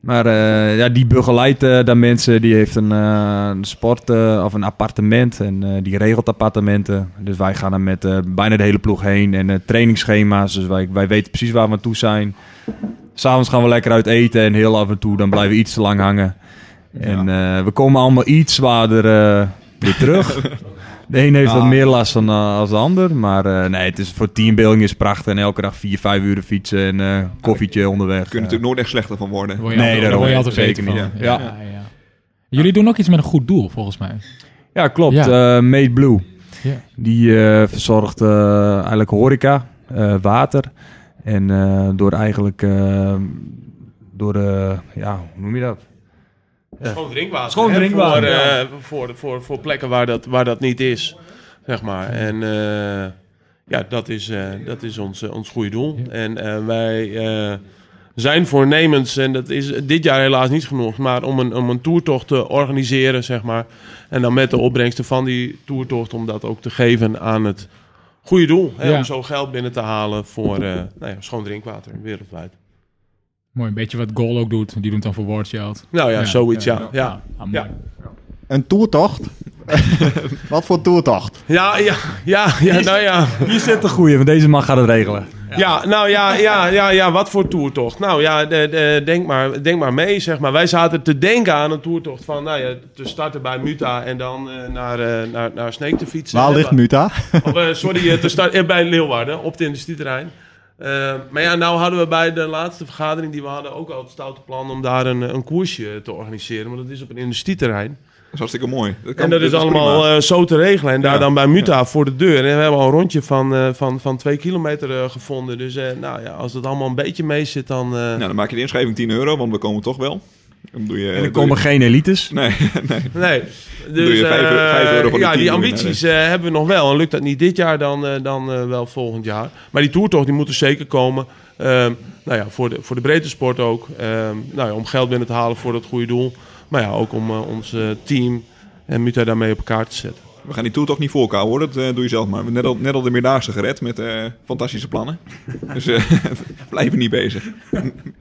D: Maar eh, ja, die begeleidt eh daar mensen, die heeft een, eh, een sport eh, of een appartement en eh, die regelt appartementen. Dus wij gaan er met eh, bijna de hele ploeg heen en eh, trainingsschema's, dus wij, wij weten precies waar we aan toe zijn. S'avonds gaan we lekker uit eten en heel af en toe dan blijven we iets te lang hangen. En eh, we komen allemaal iets zwaarder eh, weer terug. De een heeft wat meer last van eh, als de ander. Maar eh, nee, het is, voor teambuilding is het prachtig. En elke dag vier, vijf uur fietsen en eh, koffietje onderweg.
B: Kun je natuurlijk nooit echt slechter van worden.
C: word je
D: Nee,
C: altijd-
D: daarom.
C: daar word je altijd
D: Zeker
C: beter
D: niet,
C: van.
D: ja.
C: ja. Jullie doen ook iets met een goed doel, volgens mij.
D: Ja, klopt. eh
C: Ja.
D: Made Blue.
C: Ja.
D: Die eh, verzorgt eh, eigenlijk horeca, eh, water. En eh, door eigenlijk... eh, door, eh, ja, hoe noem je dat?
E: Schoon drinkwater.
D: Schoon
E: hè,
D: drinkwater,
E: Voor,
D: ja.
E: eh, voor, voor, voor plekken waar dat, waar dat niet is, zeg maar. En eh, ja, dat is, eh, dat is ons, eh, ons goede doel. En eh, wij eh, zijn voornemens, en dat is dit jaar helaas niet genoeg, maar om een, om een toertocht te organiseren, zeg maar. En dan met de opbrengsten van die toertocht, om dat ook te geven aan het goede doel. Hè,
C: Ja.
E: Om zo geld binnen te halen voor eh, nou ja, schoon drinkwater wereldwijd.
C: Mooi, een beetje wat Goal ook doet. Die doet dan voor World Child.
E: Nou ja,
C: Ja,
E: zoiets, ja. ja.
C: Ah, mooi.
A: Een toertocht? Wat voor toertocht?
E: Ja, ja, ja, ja, nou ja.
D: Hier zit de goeie, want deze man gaat het regelen.
E: Ja, nou ja, ja, ja, ja, wat voor toertocht? Nou ja, de, de- denk, maar, denk maar mee, zeg maar. Wij zaten te denken aan een toertocht van, nou ja, te starten bij Muta en dan eh, naar, eh, naar, naar Sneek te fietsen.
A: Waar ligt Muta?
E: Of, eh, sorry, eh, te starten eh, bij Leeuwarden, op het industrieterrein. Eh, maar ja, nou hadden we bij de laatste vergadering die we hadden ook al het stoute plan om daar een, een koersje te organiseren. Maar dat is op een industrieterrein.
B: Dat is hartstikke mooi. Dat kan-
E: En dat is allemaal
B: prima.
E: eh, zo te regelen. En daar
B: Ja.
E: dan bij Muta voor de deur. En we hebben al een rondje van, eh, van, van twee kilometer eh, gevonden. Dus eh, nou ja, als het allemaal een beetje mee zit, dan... eh,
B: Nou, dan maak je de inschrijving 10 euro, want we komen toch wel. Dan doe je,
D: En er
B: doe je-
D: komen geen elites.
B: Nee,
E: Nee.
B: doe je
E: eh,
B: vijf euro- vijf euro voor de
E: Ja,
B: tien
E: die
B: euro
E: ambities eh, hebben we nog wel. En lukt dat niet dit jaar, dan, eh, dan eh, wel volgend jaar. Maar die toertocht, die moet er zeker komen. Ehm, nou ja, voor de, voor de breedte sport ook. Ehm, nou ja, om geld binnen te halen voor dat goede doel. Maar ja, ook om eh, ons eh, team en Muta daarmee op elkaar te zetten.
B: we gaan die toer toch niet voor elkaar hoor. Dat eh, doe je zelf maar. We hebben net al, net al de meerdaagse gered met eh, fantastische plannen. dus eh blijven niet bezig.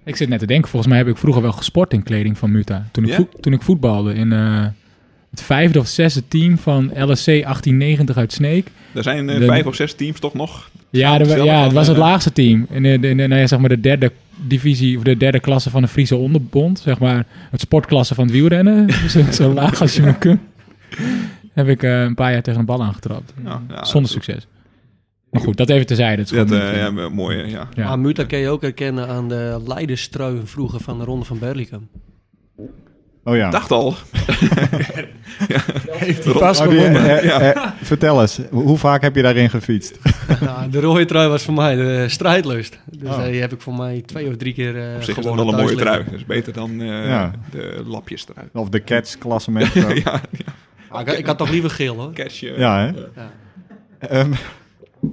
C: Ik zit net te denken, volgens mij heb ik vroeger wel gesport in kleding van Muta. Toen ik,
B: Ja?
C: voet- toen ik voetbalde in eh, het vijfde of zesde team van LSC 1890 uit Sneek.
B: Er zijn eh,
C: De-
B: vijf of zes teams toch nog.
C: Ja, er wa-
B: Zelf
C: ja
B: al,
C: het was
B: eh,
C: het laagste team. In, de, in de- nou ja, zeg maar de derde divisie of de derde klasse van de Friese onderbond. Zeg maar het sportklasse van het wielrennen. zo, zo laag als je maar kunt. Heb ik eh, een paar jaar tegen een bal aangetrapt.
B: Ja, ja,
C: Zonder succes. Maar goed, dat even terzijde. Het is
B: Dat,
C: gewoon
B: eh,
C: niet-
B: ja, mooi, eh, ja.
C: Ja.
G: Maar Muta kun je ook herkennen aan de leiderstruien vroeger van de Ronde van Berlicum.
A: Oh ja.
B: Dacht al.
A: Oh, die- eh, eh, eh, vertel eens, hoe vaak heb je daarin gefietst?
G: Nou, de rode trui was voor mij de strijdlust. Dus eh, die heb ik voor mij twee of drie keer eh
B: Ah. Op zich is dat
G: gewonnen
B: wel een mooie
G: thuis
B: trui. Dat is beter dan eh,
A: Ja.
B: de lapjes trui.
A: Of de Cats klassement? ja,
B: ja,
G: liggen. Maar Ah, ik, ik had toch liever geel hoor.
B: cashje.
A: ja, hè? Ehm,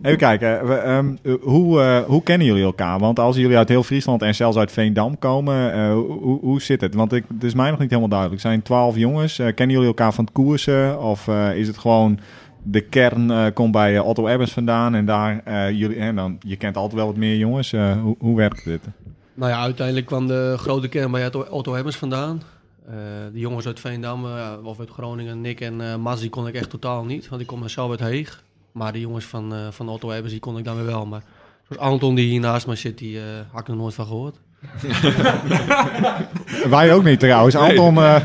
A: even kijken, eh, we, ehm, eh, hoe, eh, hoe kennen jullie elkaar? Want als jullie uit heel Friesland en zelfs uit Veendam komen, eh, hoe, hoe zit het? Want ik, het is mij nog niet helemaal duidelijk. Zijn twaalf jongens, eh, kennen jullie elkaar van het koersen? Of eh, is het gewoon de kern eh, komt bij eh, Otto Ebbers vandaan en daar eh, jullie... En dan, je kent altijd wel wat meer jongens. Eh, hoe, hoe werkt dit?
G: Nou ja, uiteindelijk kwam de grote kern bij Otto- Otto Hemmers vandaan. Eh, de jongens uit Veendam, eh, of uit Groningen, Nick en eh Mas, die kon ik echt totaal niet. Want ik kom zelf uit Heeg. Maar de jongens van, eh, van Otto Hemmers, die kon ik dan weer wel. Maar zoals Anton die hier naast me zit, die eh, had ik nog nooit van gehoord.
B: Oh.
A: Wij ook niet trouwens. Anton... eh,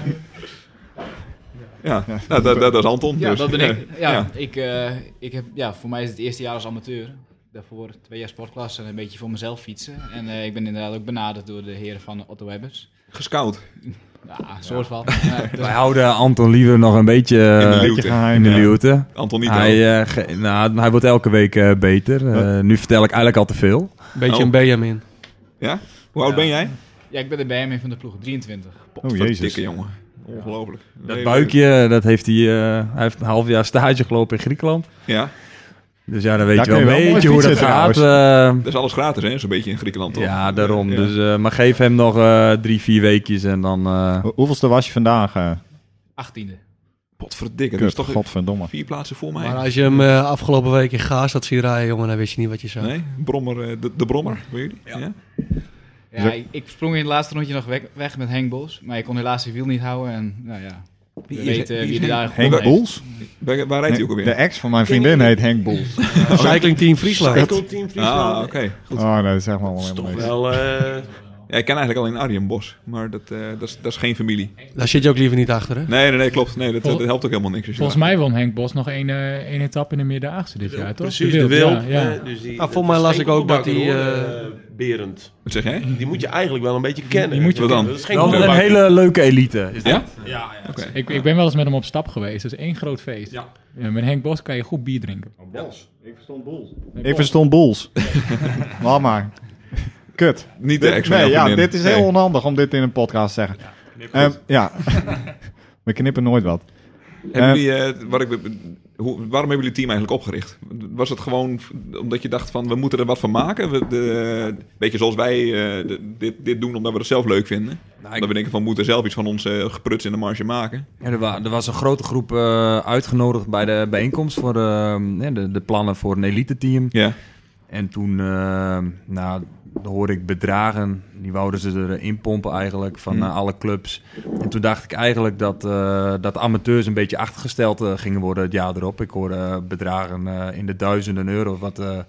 B: Ja, nou, dat, dat, dat is Anton.
F: Ja,
B: dus,
F: dat ben ik.
B: eh,
F: Ja,
B: ja.
F: Ik, eh, ik heb, ja, voor mij is het eerste jaar als amateur. daarvoor twee jaar sportklasse en een beetje voor mezelf fietsen. En eh, ik ben inderdaad ook benaderd door de heren van Otto Webbers.
B: Gescout.
F: Nou, een soort van. Ja, dus-
D: Wij houden Anton liever nog een beetje eh,
B: In de
A: Beetje
B: luwte.
A: geheim.
D: in de
A: ja.
D: luwte.
B: Anton niet
D: Hij, eh, ge- nou, hij wordt elke week eh, beter. Eh, Nu vertel ik eigenlijk al te veel.
G: Beetje
B: Oh.
G: een Benjamin.
B: Ja? Hoe oud
F: Ja.
B: ben jij?
F: ja, ik ben de BM van de ploeg 23.
A: Oh jezus.
B: Dikke jongen. Ongelooflijk.
D: Dat buikje, dat heeft hij, eh, hij heeft een half jaar stage gelopen in Griekenland.
B: Ja,
D: Dus ja, dan weet
A: Daar
D: je wel
A: kun
D: een
A: je wel mooi
D: beetje hoe dat
A: fietsen
D: gaat. eh,
B: dat is alles gratis hè, zo'n beetje in Griekenland toch?
D: ja, daarom.
B: Ja.
D: Dus, eh, maar geef hem nog eh, drie, vier weekjes en dan... eh,
A: Hoe- Hoeveelste was je vandaag? eh?
F: 18e.
B: Potverdikke, dat
A: Kut,
B: is toch
A: godverdomme.
B: vier plaatsen voor mij.
G: Maar als je hem eh, afgelopen week in Gaas had zien rijden, jongen, dan wist je niet wat je zag.
B: Nee, Brommer, eh, de, de Brommer, weet jullie? Ja.
F: Ja, ik, ik sprong in het laatste rondje nog weg, weg met Henk Bos. Maar ik kon helaas zijn wiel niet houden. En nou ja, we
B: is- eh,
F: weten
B: wie is
F: wie er
B: Henk-
F: daar gewonnen
A: Henk
F: heeft.
A: Boels?
B: Waar, waar rijdt hij ook alweer?
A: De ex van mijn vriendin heet Henk Boels.
G: Cycling Team Friesland.
E: Cycleteam Friesland.
B: Ah, oké. Goed.
A: Oh nee, dat zeg maar
E: Dat is
A: allemaal
E: toch
A: helemaal niks.
E: wel... eh,
B: Ja, ik ken eigenlijk alleen Arjen Bos, maar dat, eh, dat, is, dat is geen familie.
G: Daar zit je ook liever niet achter, hè?
B: Nee, nee, nee, klopt. Nee, dat,
C: Vol-
B: dat helpt ook helemaal niks. als je
C: Volgens
B: daar-
C: mij won Henk Bos nog één, eh, één etappe in de Meerdaagse dit jaar, toch?
E: Precies, de
C: Wild,
E: wild.
C: Ja, ja.
E: eh, Dus die,
G: Ah, voor
E: dat
G: mij
E: is
G: las
E: geen
G: ik ook dat
E: koebakker,
G: die,
E: hoor,
G: eh,
E: eh, Berend.
B: Wat zeg jij?
E: Die moet je eigenlijk wel een beetje kennen.
C: Die moet je
B: Wat dan?
E: Dat is geen
D: wel een
E: koebakker.
D: hele leuke elite. Is dat?
B: Ja?
D: Ja, ja.
B: Oké.
C: Ik, ik ben wel eens met hem op stap geweest. Dat is één groot feest.
D: Ja.
C: Ja, met Henk Bos kan je goed bier drinken.
A: Ik verstond Boels. Laat maar. Kut.
B: Niet de
A: Dit,
B: ex van
A: nee,
B: jouw
A: ja,
B: vriendin.
A: dit is heel
B: Nee.
A: onhandig om dit in een podcast te zeggen. Ehm, ja. We knippen nooit wat.
B: Hebben jullie, eh, waar ik, hoe, waarom hebben jullie team eigenlijk opgericht? Was het gewoon v- omdat je dacht van we moeten er wat van maken? We, de, beetje zoals wij eh, de- dit, dit doen omdat we het zelf leuk vinden.
D: Nou,
B: Omdat we denken van we moeten zelf iets van ons eh, gepruts in de marge maken.
D: Ja, er, wa- er was een grote groep eh, uitgenodigd bij de bijeenkomst voor eh, hè, de, de plannen voor een elite team.
B: Ja,
D: En toen eh, nou, hoorde ik bedragen, die wouden ze erin pompen eigenlijk, van
B: Hmm.
D: eh, alle clubs. En toen dacht ik eigenlijk dat, eh, dat amateurs een beetje achtergesteld eh, gingen worden het jaar erop. Ik hoorde eh, bedragen eh, in de duizenden euro. Wat, eh, ik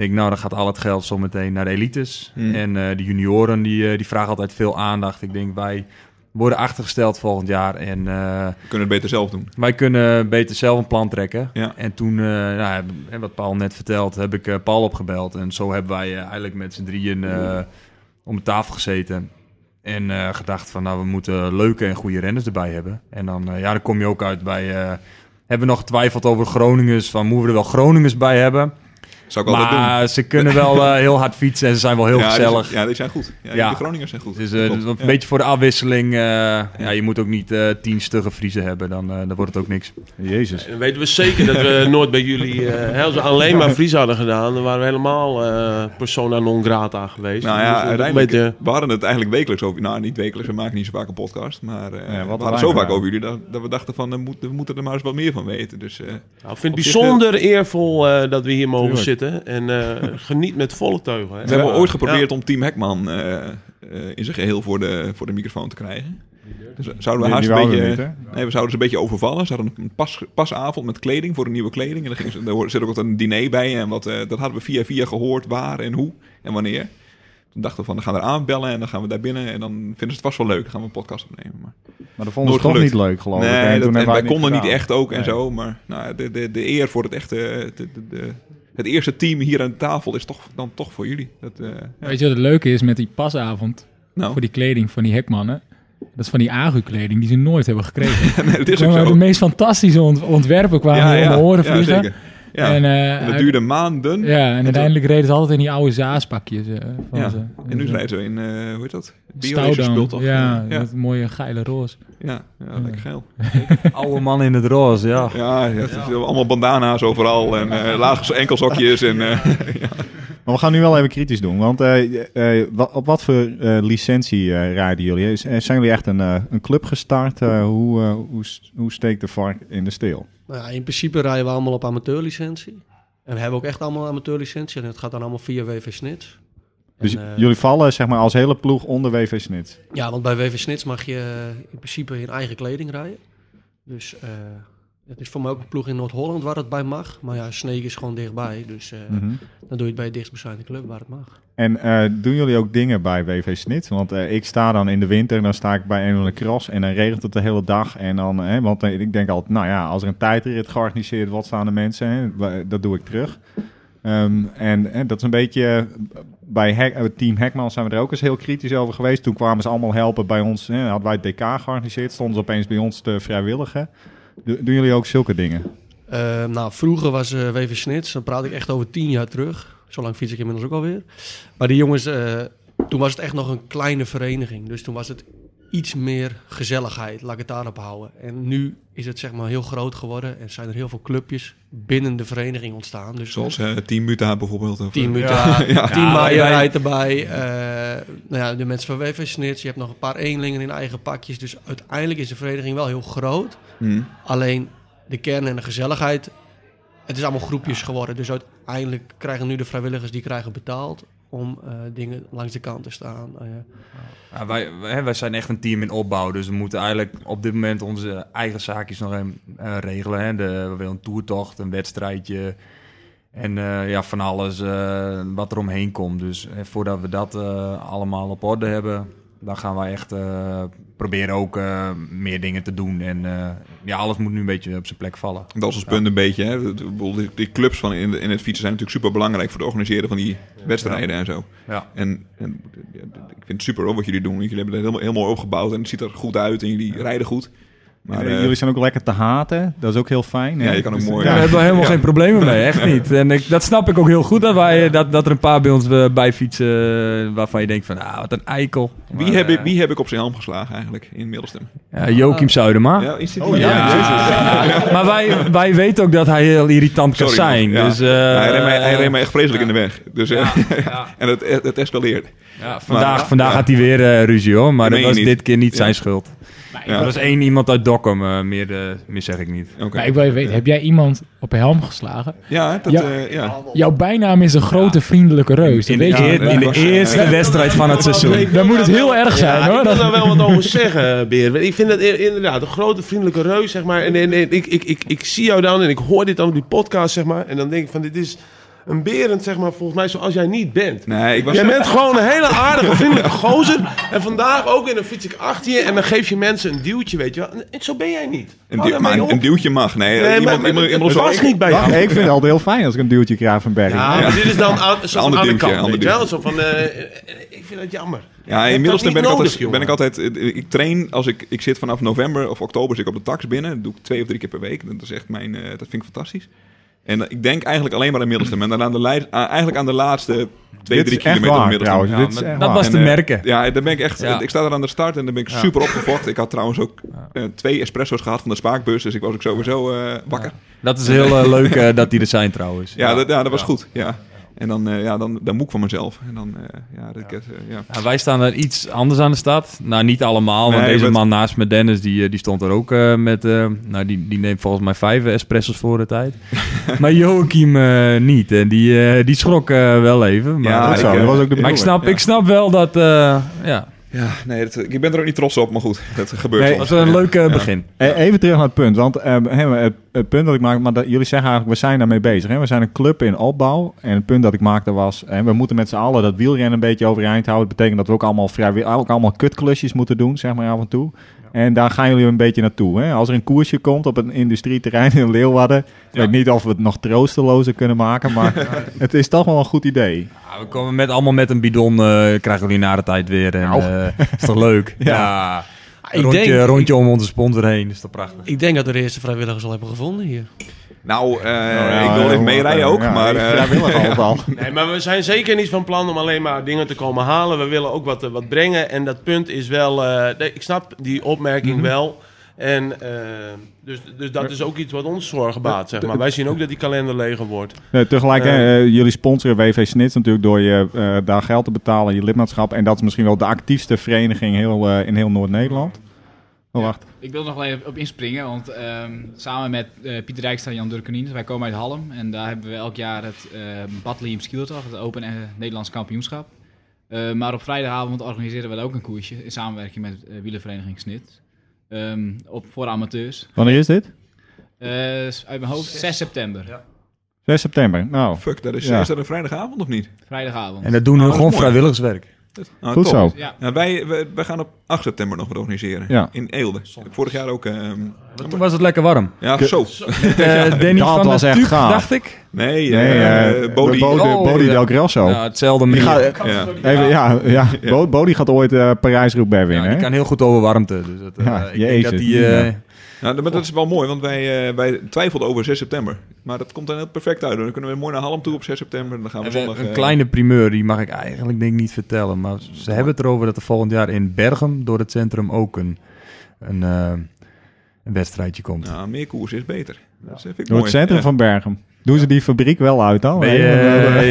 D: denk, nou dan gaat al het geld zometeen naar de elites.
B: Hmm.
D: En eh, de junioren die, eh, die vragen altijd veel aandacht. Ik denk, wij worden achtergesteld volgend jaar en... eh,
B: we kunnen het beter zelf doen.
D: wij kunnen beter zelf een plan trekken.
B: Ja.
D: En toen, eh, nou, heb- hè, wat Paul net vertelt, heb ik eh, Paul opgebeld. En zo hebben wij eh, eigenlijk met z'n drieën eh, om de tafel gezeten. En eh, gedacht van, nou, we moeten leuke en goede renners erbij hebben. En dan, eh, ja, dan kom je ook uit bij... eh, hebben we nog getwijfeld over Groningers, van moeten we er wel Groningers bij hebben?
B: Zou ik altijd doen.
D: Maar ze kunnen wel eh, heel hard fietsen en ze zijn wel heel
B: ja, die-
D: gezellig.
B: ja, die zijn goed. Ja,
D: Ja.
B: De Groningers zijn goed.
D: Dus eh,
B: Klopt.
D: een
B: Ja.
D: beetje voor de afwisseling. eh, ja, je moet ook niet eh, tien stugge Friese hebben, dan, eh, dan wordt het ook niks.
A: Jezus.
E: Dan weten we zeker dat we nooit bij jullie... eh hè, als we alleen maar Fries hadden gedaan, dan waren we helemaal eh, persona non grata geweest.
B: Nou
E: Dus dat
B: ja,
E: is een
B: uiteindelijk,
E: beetje-
B: we hadden het eigenlijk wekelijks over... Nou, niet wekelijks, we maken niet zo vaak een podcast. Maar eh,
A: wat
B: we hadden
A: wij
B: het zo vaak
A: gedaan.
B: over jullie dat, dat we dachten van... eh, moet- we moeten er maar eens wat meer van weten. Dus eh,
E: Nou, ik vind
B: Op
E: het
B: zich,
E: bijzonder eervol eh, dat we hier mogen
A: Tuurlijk.
E: zitten. En eh, geniet met volle teugen. hè.
B: we hebben ooit geprobeerd om Team Hekman eh, eh, in zijn geheel voor de, voor de microfoon te krijgen. Dus zouden we
A: Die-
B: haast
A: die
B: een
A: wouden
B: beetje...
A: niet, hè?
B: nee, we zouden ze een beetje overvallen. Ze hadden een pas, pasavond met kleding voor een nieuwe kleding. En dan gingen ze, daar hoorde- zit ook wat een diner bij. En wat, eh, dat hadden we via via gehoord waar en hoe en wanneer. Toen dachten we van, dan gaan we daar aanbellen en dan gaan we daar binnen. En dan vinden ze het vast wel leuk. Dan gaan we een podcast opnemen. Maar
A: Maar dat vonden ze
B: Nooit
A: toch
B: gelukt.
A: niet leuk, geloof ik.
B: Nee, dat-
A: hebben
B: en
A: wij
B: wij
A: het
B: konden niet
A: gedaan.
B: echt ook en
A: Nee.
B: zo. Maar nou, de, de, de eer voor het echte... de- de- de- het eerste team hier aan de tafel is toch, dan toch voor jullie. Dat, eh, ja.
C: Weet je wat het leuke is met die pasavond voor
B: Nou,
C: die kleding van die hekmannen? Dat is van die agu-kleding die ze nooit hebben gekregen.
B: nee, dat is ook
C: Maar de
B: zo.
C: meest fantastische ont- ontwerpen kwamen
B: Ja,
C: hier om
B: ja,
C: de oren
B: ja,
C: vliegen.
B: zeker. Ja.
C: En,
B: En,
C: eh,
B: dat duurde maanden.
C: Ja, en uiteindelijk reden ze altijd in die oude zaaspakjes. eh, van
B: Ja,
C: ze.
B: En nu rijden ze in, eh, hoe heet dat? Bioracer
C: Stoudam.
B: speelt toch?
C: Ja,
B: ja.
C: dat mooie geile roze.
B: ja, ja, lekker geil.
D: Oude man in het roze, ja.
B: Ja, ja, het is allemaal bandana's overal en eh lage enkelzakjes. En, eh,
A: Maar we gaan nu wel even kritisch doen. Want eh, eh, wa- op wat voor eh, licentie eh rijden jullie? Is- eh, Zijn jullie echt een, eh, een club gestart? Eh, hoe, eh, hoe, s- hoe steekt de vark in de steel?
G: Nou ja, in principe rijden we allemaal op amateurlicentie. En we hebben ook echt allemaal amateurlicentie. En het gaat dan allemaal via WV Snits.
A: Dus
G: En, eh,
A: jullie vallen zeg maar als hele ploeg onder WV Snits.
G: Ja, want bij WV Snits mag je eh, in principe in eigen kleding rijden. Dus eh, het is voor mij ook een ploeg in Noord-Holland waar het bij mag. Maar ja, Sneek is gewoon dichtbij. Dus eh,
A: Mhm.
G: dan doe je het bij de dichtstbijzijnde club waar het mag.
A: En eh, doen jullie ook dingen bij WV Snit? Want eh, ik sta dan in de winter, dan sta ik bij een of andere cross en dan regent het de hele dag. En dan, hè, want eh, ik denk altijd, nou ja, als er een tijdrit georganiseerd wordt, staan de mensen. Hè, wa- dat doe ik terug. Eh, Ehm, en eh, dat is een beetje... eh, Bij Hek- eh, Team Hekman zijn we er ook eens heel kritisch over geweest. Toen kwamen ze allemaal helpen bij ons. eh, hadden wij het DK georganiseerd. Stonden ze opeens bij ons te vrijwilligen. Do- doen jullie ook zulke dingen?
G: Eh, nou, vroeger was eh Wever Snits, dan praat ik echt over tien jaar terug. Zo lang fiets ik inmiddels ook alweer. Maar die jongens, eh, toen was het echt nog een kleine vereniging. Dus toen was het iets meer gezelligheid, laat ik het daarop houden. En nu is het zeg maar heel groot geworden en zijn er heel veel clubjes binnen de vereniging ontstaan. Dus
B: Zoals eh Team Muta bijvoorbeeld. Of, eh,
G: Team Muta,
D: Ja, ja.
G: Team
D: Ja,
G: Maya
D: wij-
G: rijdt erbij. eh, nou ja, de mensen van Wever Snits, je hebt nog een paar eenlingen in eigen pakjes. Dus uiteindelijk is de vereniging wel heel groot.
B: Hm.
G: Alleen de kern en de gezelligheid. Het is allemaal groepjes geworden. Dus uiteindelijk krijgen nu de vrijwilligers die krijgen betaald om eh, dingen langs de kant te staan. Eh,
D: Ja, wij, wij, hè, wij zijn echt een team in opbouw, dus we moeten eigenlijk op dit moment onze eigen zaakjes nog even eh, regelen. Hè. De, we willen een toertocht, een wedstrijdje en eh, ja, van alles eh, wat er omheen komt. Dus eh, voordat we dat eh, allemaal op orde hebben, dan gaan wij echt eh, proberen ook eh, meer dingen te doen. En eh, ja, alles moet nu een beetje op zijn plek vallen.
B: Dat is ons punt een beetje. Hè. Ik bedoel, Die, die clubs van in, in het fietsen zijn natuurlijk super belangrijk voor het organiseren van die wedstrijden en zo.
D: Ja.
B: En, en ja, ik vind het super hoor, wat jullie doen. want Jullie hebben het helemaal heel mooi opgebouwd en het ziet er goed uit en jullie rijden goed. Maar
A: En, eh,
B: eh,
A: jullie zijn ook lekker te haten. Dat is ook heel fijn. hè? Dus,
B: Ja, je kan ook mooi- eh,
A: ja,
D: Ja, we hebben helemaal geen problemen mee, echt niet. En ik, dat snap ik ook heel goed, dat, wij, eh, dat, dat er een paar bij ons eh, bij fietsen waarvan je denkt van, ah, wat een eikel.
B: wie, heb ik, wie heb ik op zijn helm geslagen eigenlijk in Middelstem?
D: Ja, Joachim Zuidema.
B: Ja, is dit
A: Oh, ja.
D: Ah. Ja. Maar wij, wij weten ook dat hij heel irritant kan
B: Sorry,
D: zijn.
B: ja.
D: Dus, eh,
B: Ja, hij, reed mij, hij reed mij echt vreselijk in de weg. Dus, eh,
D: ja.
B: en het, e-, het escaleert.
D: Ja, vandaag
B: Maar-
D: vandaag
B: ja.
D: had hij weer eh, ruzie hoor, maar
B: Dat
D: dat
B: meen
D: was
B: je niet.
D: dit keer niet
B: Ja.
D: zijn schuld.
B: Ja.
D: Er was één iemand uit Dokkum, eh, meer, eh, meer zeg ik niet.
B: Oké.
C: Maar ik wil even weten, heb jij iemand op een helm geslagen?
B: Ja, dat,
C: Ja.
B: eh, ja.
C: Jouw bijnaam is een grote vriendelijke reus.
B: In-
C: Dat
B: in
C: weet
B: de
C: je.
B: eer-
C: Maar-
D: In de
B: was, eh,
D: eerste
B: ja.
D: wedstrijd van het seizoen.
C: Dan moet het heel erg zijn
E: Ja,
C: hoor.
E: ik wil daar
C: Dat,
E: wel wat over zeggen, Beer. Want Ik vind dat i- inderdaad een grote vriendelijke reus, zeg maar. En, en, en ik, ik, ik, ik zie jou dan en ik hoor dit dan op die podcast, zeg maar. En dan denk ik van, dit is een berend, zeg maar, volgens mij, zoals jij niet bent.
B: Nee, ik was...
E: Jij bent gewoon een hele aardige, vriendelijke gozer. En vandaag ook weer een fiets ik achter je en dan geef je mensen een duwtje, weet je wel. En zo ben jij niet.
B: Een,
E: Hou
B: duw, maar
E: daarmee
B: een,
E: op.
B: een duwtje mag. Nee,
E: Nee,
B: iemand,
E: maar-
B: iemand,
E: maar-
B: iemand
E: het
B: zoals
E: was niet bij
A: Wacht,
E: jou.
A: ik vind het altijd heel fijn als ik een duwtje krijg van Berry.
E: Ja, maar dit is dan aan, zoals
B: Ander
E: aan de
B: duwtje,
E: kant,
B: ander
E: weet je wel. Zo
B: duwtje.
E: van, eh, eh, ik vind het jammer. Je
B: Ja,
E: hebt
B: inmiddels
E: dat
B: ben,
E: niet
B: ik
E: nodig,
B: altijd,
E: jongen.
B: ben ik altijd. Ik train als ik. Ik zit vanaf november of oktober zit ik op de tax binnen. Dat doe ik twee of drie keer per week. Dat is echt mijn. eh, dat vind ik fantastisch. En eh, ik denk eigenlijk alleen maar aan Middelstem. En dan aan de leid, aan- eigenlijk aan de laatste twee,
A: Dit
B: drie
A: is echt
B: kilometer van
A: waar
B: Middelstem.
A: trouwens.
D: Ja,
A: Dit is
D: maar
A: echt
D: dat
A: waar.
D: was-
B: En,
D: te
B: eh,
D: merken.
B: Ja, dan ben ik echt.
D: Ja.
B: Ik sta er aan de start en dan ben ik super opgefokt. Ik had trouwens ook eh, twee espresso's gehad van de spaakbus. Dus ik was ook sowieso eh, wakker.
D: Dat is heel eh, leuk eh, dat die er zijn trouwens.
B: Ja, dat, ja, dat was goed. Ja. En dan, eh, ja, dan, dan moek van mezelf. En dan, eh, ja, dat, ik, eh, ja.
D: Ja, Nou, wij staan er iets anders aan de stad. Nou, niet allemaal, want
B: Nee,
D: deze
B: wat-
D: man naast me, Dennis, die, eh, die stond er ook eh, met... eh, nou, die, die neemt volgens mij vijf eh, espressos voor de tijd. maar Joachim eh, niet. En die, eh, die schrok eh, wel even. Maar,
B: Ja,
A: Dat, zo,
B: ik, eh,
A: dat was ook de
D: maar ik,
A: bedoeling.
D: snap,
B: ja.
D: ik snap wel dat... eh, ja,
B: Ja, nee, dat, ik ben er ook niet trots op, maar goed, dat gebeurt
A: Nee,
B: soms.
D: was een
B: Ja.
D: leuk eh,
B: Ja.
D: begin.
A: Eh, Even terug naar het punt. Want eh, hè, het, het punt dat ik maak, maar dat, jullie zeggen eigenlijk, we zijn daarmee bezig. Hè? We zijn een club in opbouw. En het punt dat ik maakte was, hè, we moeten met z'n allen dat wielrennen een beetje overeind houden. Dat betekent dat we ook allemaal, vrijwi- ook allemaal kutklusjes moeten doen, zeg maar af en toe. En daar gaan jullie een beetje naartoe. Hè? Als er een koersje komt op een industrieterrein in Leeuwarden. Ik weet niet of we het nog troostelozer kunnen maken, maar het is toch wel een goed idee.
D: Ja, we komen met, allemaal met een bidon, eh, krijgen jullie na de tijd weer. En, eh, is toch leuk? ja.
G: ik
D: Rondje,
G: denk-
D: rondje om onze sponsor heen, is toch prachtig?
G: ik denk dat we de eerste vrijwilligers al hebben gevonden hier.
B: Nou, eh,
A: Nou ja,
B: ik wil
A: eh,
B: even meerijden ook,
A: ja,
B: maar...
A: ik
B: eh,
A: vrijwillig allemaal.
E: Nee, maar we zijn zeker niet van plan om alleen maar dingen te komen halen. We willen ook wat, eh, wat brengen. En dat punt is wel. eh, nee, ik snap die opmerking
G: Mhm.
E: wel. En eh, dus, dus dat is ook iets wat ons zorgen baat, zeg maar. Wij zien ook dat die kalender leger wordt.
A: Nee, tegelijk, hè,
E: Eh.
A: eh, jullie sponsoren WV Snits natuurlijk door je, eh, daar geld te betalen, je lidmaatschap. En dat is misschien wel de actiefste vereniging heel, eh, in heel Noord-Nederland. Oh, wacht.
F: Ik wil er nog wel even op inspringen, want ehm, samen met eh, Pieter Dijkstra en Jan Durkenien, wij komen uit Halm. En daar hebben we elk jaar het ehm Bad Liam Skielertag, het Open eh, Nederlands Kampioenschap. Eh, maar op vrijdagavond organiseren we daar ook een koersje in samenwerking met eh wielervereniging Snit. Ehm, op, voor amateurs.
A: Wanneer is dit?
F: Eh, uit mijn hoofd 6 september,
A: 6 september. Nou,
B: Fuck, dat is,
A: Ja.
B: is dat een vrijdagavond of niet?
F: vrijdagavond.
D: En dat doen
B: Nou, dat
D: we
B: is
D: gewoon
B: mooi.
D: vrijwilligerswerk.
B: Ah,
A: Goed
B: top.
A: zo.
F: Ja,
B: Ja, wij, wij, wij gaan op 8 september nog wat organiseren.
A: Ja.
B: In Eelde. Vorig jaar ook. ehm,
D: Toen was het lekker warm.
B: ja, zo.
D: Eh, Danny
A: dat
D: van
A: was
D: der
A: echt
D: Tuuk,
A: gaaf.
D: dacht ik.
B: Nee,
A: Nee,
B: eh,
A: eh,
B: Bodie.
A: Bo- de-
D: Oh,
A: Bodie
D: ja.
A: Del Grasso.
D: Ja, hetzelfde
A: Die
D: manier.
A: gaat,
B: Ja.
A: even, ja, ja. Bo- Bodie gaat ooit eh Parijs-Roubaix
D: Ja,
A: winnen.
D: die
A: hè?
D: kan heel goed over warmte. Dus dat, eh,
A: Ja,
D: ik denk dat
A: jezus.
D: die... eh,
B: Ja, maar Nou, dat is wel mooi, want wij, eh, wij twijfelden over 6 september. Maar dat komt dan heel perfect uit. Dan kunnen we mooi naar Halm toe op 6 september. En dan gaan we
D: En
B: zondag...
D: we- Een
B: eh,
D: kleine primeur, die mag ik eigenlijk denk ik niet vertellen. Maar ze hebben het erover dat er volgend jaar in Bergen door het centrum ook een, een, eh, een wedstrijdje komt.
B: Ja, Nou, meer koers is beter. Dat vind
A: Door
B: ik mooi.
A: het centrum
B: Ja.
A: van Bergen. Doen ze die fabriek wel uit dan?
D: Ben je- eh,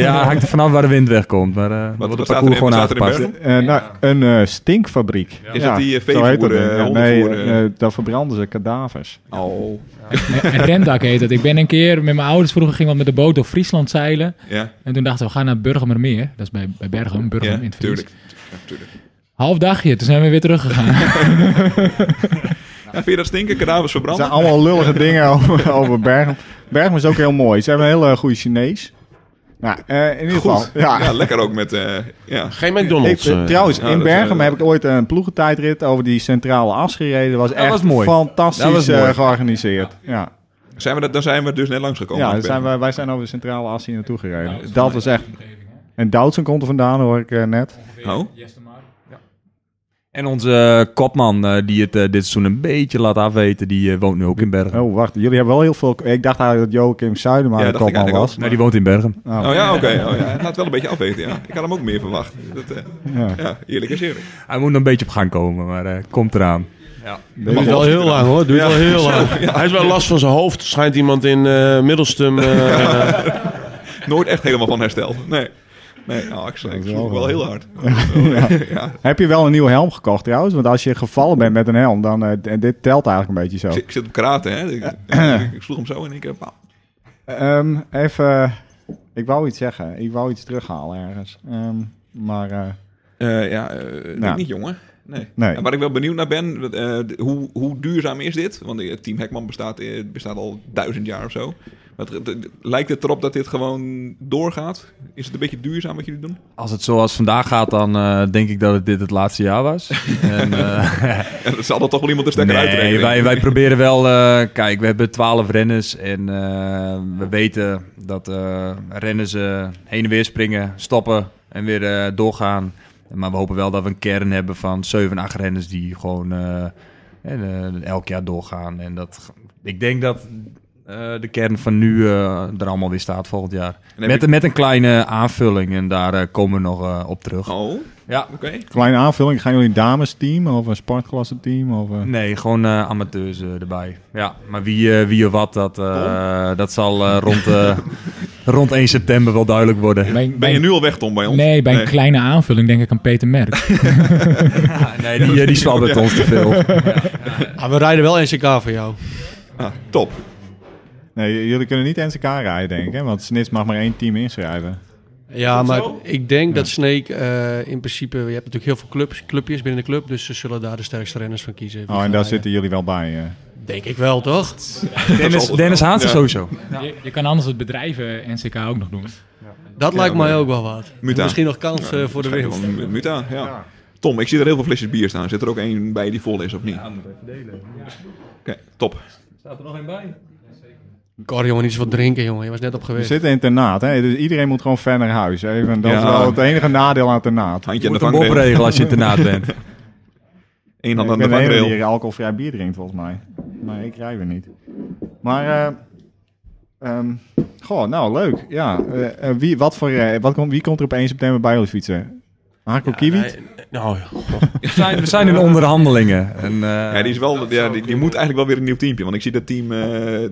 D: ja, hangt er vanaf waar de wind wegkomt. Maar eh, dan wordt
B: wat
D: het
B: staat er in-
D: parcours gewoon
B: wat staat er in
D: aangepast.
B: Bergen?
A: Eh, nou, een eh, stinkfabriek.
B: Is dat die, eh,
A: zo heet dat
B: veevoer,
A: ding.
B: eh,
A: Ja, nee,
B: hondenvoer,
A: eh, daar verbranden ze kadavers.
B: Oh,
C: En Rendak heet het. Ik ben een keer met mijn ouders vroeger gingen we met de boot door Friesland zeilen.
B: ja,
C: En toen dachten we, we gaan naar Burgermermeer. Dat is bij, bij Bergen, Burgum
B: ja
C: in het Fries.
B: tuurlijk. Ja, tuurlijk.
C: Half dagje, toen zijn we weer teruggegaan.
B: Ja, vind je dat stinken? Kadavers
A: Het
B: verbranden?
A: zijn allemaal lullige dingen over, over Bergen. Bergen is ook heel mooi. Ze hebben een hele goede Chinees. Nou, eh, in ieder geval.
B: Goed. Ja. lekker ook met... eh, ja.
E: Geen
A: Ik,
E: McDonald's.
A: eh,
E: eh.
A: trouwens,
B: ja,
A: in
B: dat,
A: Bergen
B: eh,
A: heb ik ooit een ploegentijdrit over die centrale as gereden. Dat was
D: Dat
A: echt
D: was mooi.
A: fantastisch
D: Dat was
A: eh,
D: mooi.
A: georganiseerd. Ja,
B: Zijn we dat, daar zijn we dus net langs
A: ja.
B: gekomen.
A: daar zijn wij, wij zijn over de centrale as hier naartoe gereden. dat was echt... En Doudsen komt er vandaan, hoor ik eh, net.
B: Oh?
D: En onze eh, kopman, eh, die het eh, dit seizoen een beetje laat afweten, die eh, woont nu ook in Bergen.
A: Oh, wacht. Jullie hebben wel heel veel... Ik dacht eigenlijk dat Joachim Zuidema
B: Ja,
A: de
B: dacht ik
A: kopman
B: eigenlijk
A: was.
B: ook.
D: Nee, die woont in Bergen.
A: Oh.
B: Oh ja, oké. Oh, ja. Het laat wel een beetje afweten, ja. Ik had hem ook meer verwacht. Dat, eh,
A: Ja.
B: ja, eerlijk is eerlijk.
D: Hij moet nog een beetje op gang komen, maar eh, komt eraan.
E: Duurt wel heel lang hoor, duurt wel heel lang. Hij heeft wel last van zijn hoofd, schijnt iemand in eh, Middelstum. eh,
B: Nooit echt helemaal van hersteld. Nee. Nee, oh, ik sla- ik
A: is wel
B: sloeg wel
A: waar.
B: heel hard.
A: Heb je wel een nieuwe helm gekocht trouwens? Want als je gevallen bent met een helm, dan... eh, d- dit telt eigenlijk een beetje
B: Ik
A: zo.
B: zit- Ik zit op karate, hè. Ik, ik- ik eh, sloeg hem zo in één keer. Pauw.
A: Ehm, even... eh, ik wou iets zeggen. Ik wou iets terughalen ergens. Ehm, maar... eh,
B: Eh, ja, eh, ik
A: Nou.
B: niet jongen. Nee.
A: Nee.
B: En Waar ik wel benieuwd naar ben, dat, eh, d- hoe, hoe duurzaam is dit? Want eh, Team Hekman bestaat, eh, bestaat al duizend jaar of zo. Maar het- het- het- lijkt het erop dat dit gewoon doorgaat? Is het een beetje duurzaam wat jullie doen?
D: Als het zoals vandaag gaat, dan eh, denk ik dat het dit het laatste jaar was. en, eh,
B: Ja, dat zal er toch wel iemand de stekker
D: Nee,
B: uittrekken.
D: wij, wij proberen wel... eh, kijk, we hebben twaalf renners en eh, we weten dat eh, renners eh, heen en weer springen, stoppen en weer eh, doorgaan. Maar we hopen wel dat we een kern hebben van zeven, acht renners die gewoon eh, en, eh, elk jaar doorgaan. En dat, ik denk dat eh, de kern van nu eh, er allemaal weer staat volgend jaar.
B: En heb
D: Met,
B: je-
D: met een kleine aanvulling en daar eh, komen we nog eh, op terug.
B: Oh, oké.
D: Ja,
A: Kleine aanvulling, gaan jullie een damesteam of een sportklasse team? Of, eh,
D: Nee, gewoon eh, amateurs eh, erbij. Ja, maar wie, eh, wie of wat, dat, eh, dat zal eh, rond, eh, rond 1 september wel duidelijk worden.
C: Bij-
B: Ben
C: bij-
B: je nu al weg, Tom, bij ons?
C: Nee, bij een kleine aanvulling denk ik aan Peter Merk.
D: nee, die, eh, die zwabbert ons te veel.
G: Ah, we rijden wel NCK voor jou.
B: Ah, top.
A: nee, j- jullie kunnen niet NCK rijden, denk ik. Hè? Want Snits mag maar één team inschrijven.
G: Ja,
E: Is dat
G: maar
E: zo?
G: ik denk dat Snake eh, in principe... Je hebt natuurlijk heel veel clubs, clubjes binnen de club. Dus ze zullen daar de sterkste renners van kiezen.
A: Oh, en daar zitten jullie wel bij. eh.
G: Denk ik wel, toch?
D: Dennis, Dennis Haans
B: Ja.
D: sowieso.
C: Je, je kan anders het bedrijf eh, NCK ook nog doen.
G: Dat lijkt mij ook wel wat.
B: Muta.
G: Misschien nog kans eh, voor de
B: Schijnt
G: winst.
B: wel een Muta, ja. Tom, ik zie er heel veel flesjes bier staan. Zit er ook één bij die vol is, of niet? Ja, moet even delen. Oké, top.
G: Cor, jongen, iets wat drinken, jongen. Je was net op
A: We
G: geweest.
A: zitten in internaat, hè? dus iedereen moet gewoon ver naar huis. Even, dat is
B: Ja.
A: wel het enige nadeel aan het internaat.
B: Handje
D: Je
B: aan de
D: moet hem
B: vangrail.
D: opregelen als je te naad bent.
B: Eén hand
A: Ik ben
B: aan de
A: de enige die
B: vangrail.
A: hier alcoholvrij bier drinkt, volgens mij. Maar ik rij weer niet. Maar, eh, ehm, goh, nou, leuk. Ja, eh, eh, wie, wat voor, eh, wat komt, wie komt er op 1 september bij jullie fietsen? Marco Kiewit?
E: nee, nou, ja.
D: We zijn, we zijn in onderhandelingen. En, eh,
B: Ja, die, is wel, ja, die, die moet eigenlijk wel weer een nieuw teampje. Want ik zie dat team, eh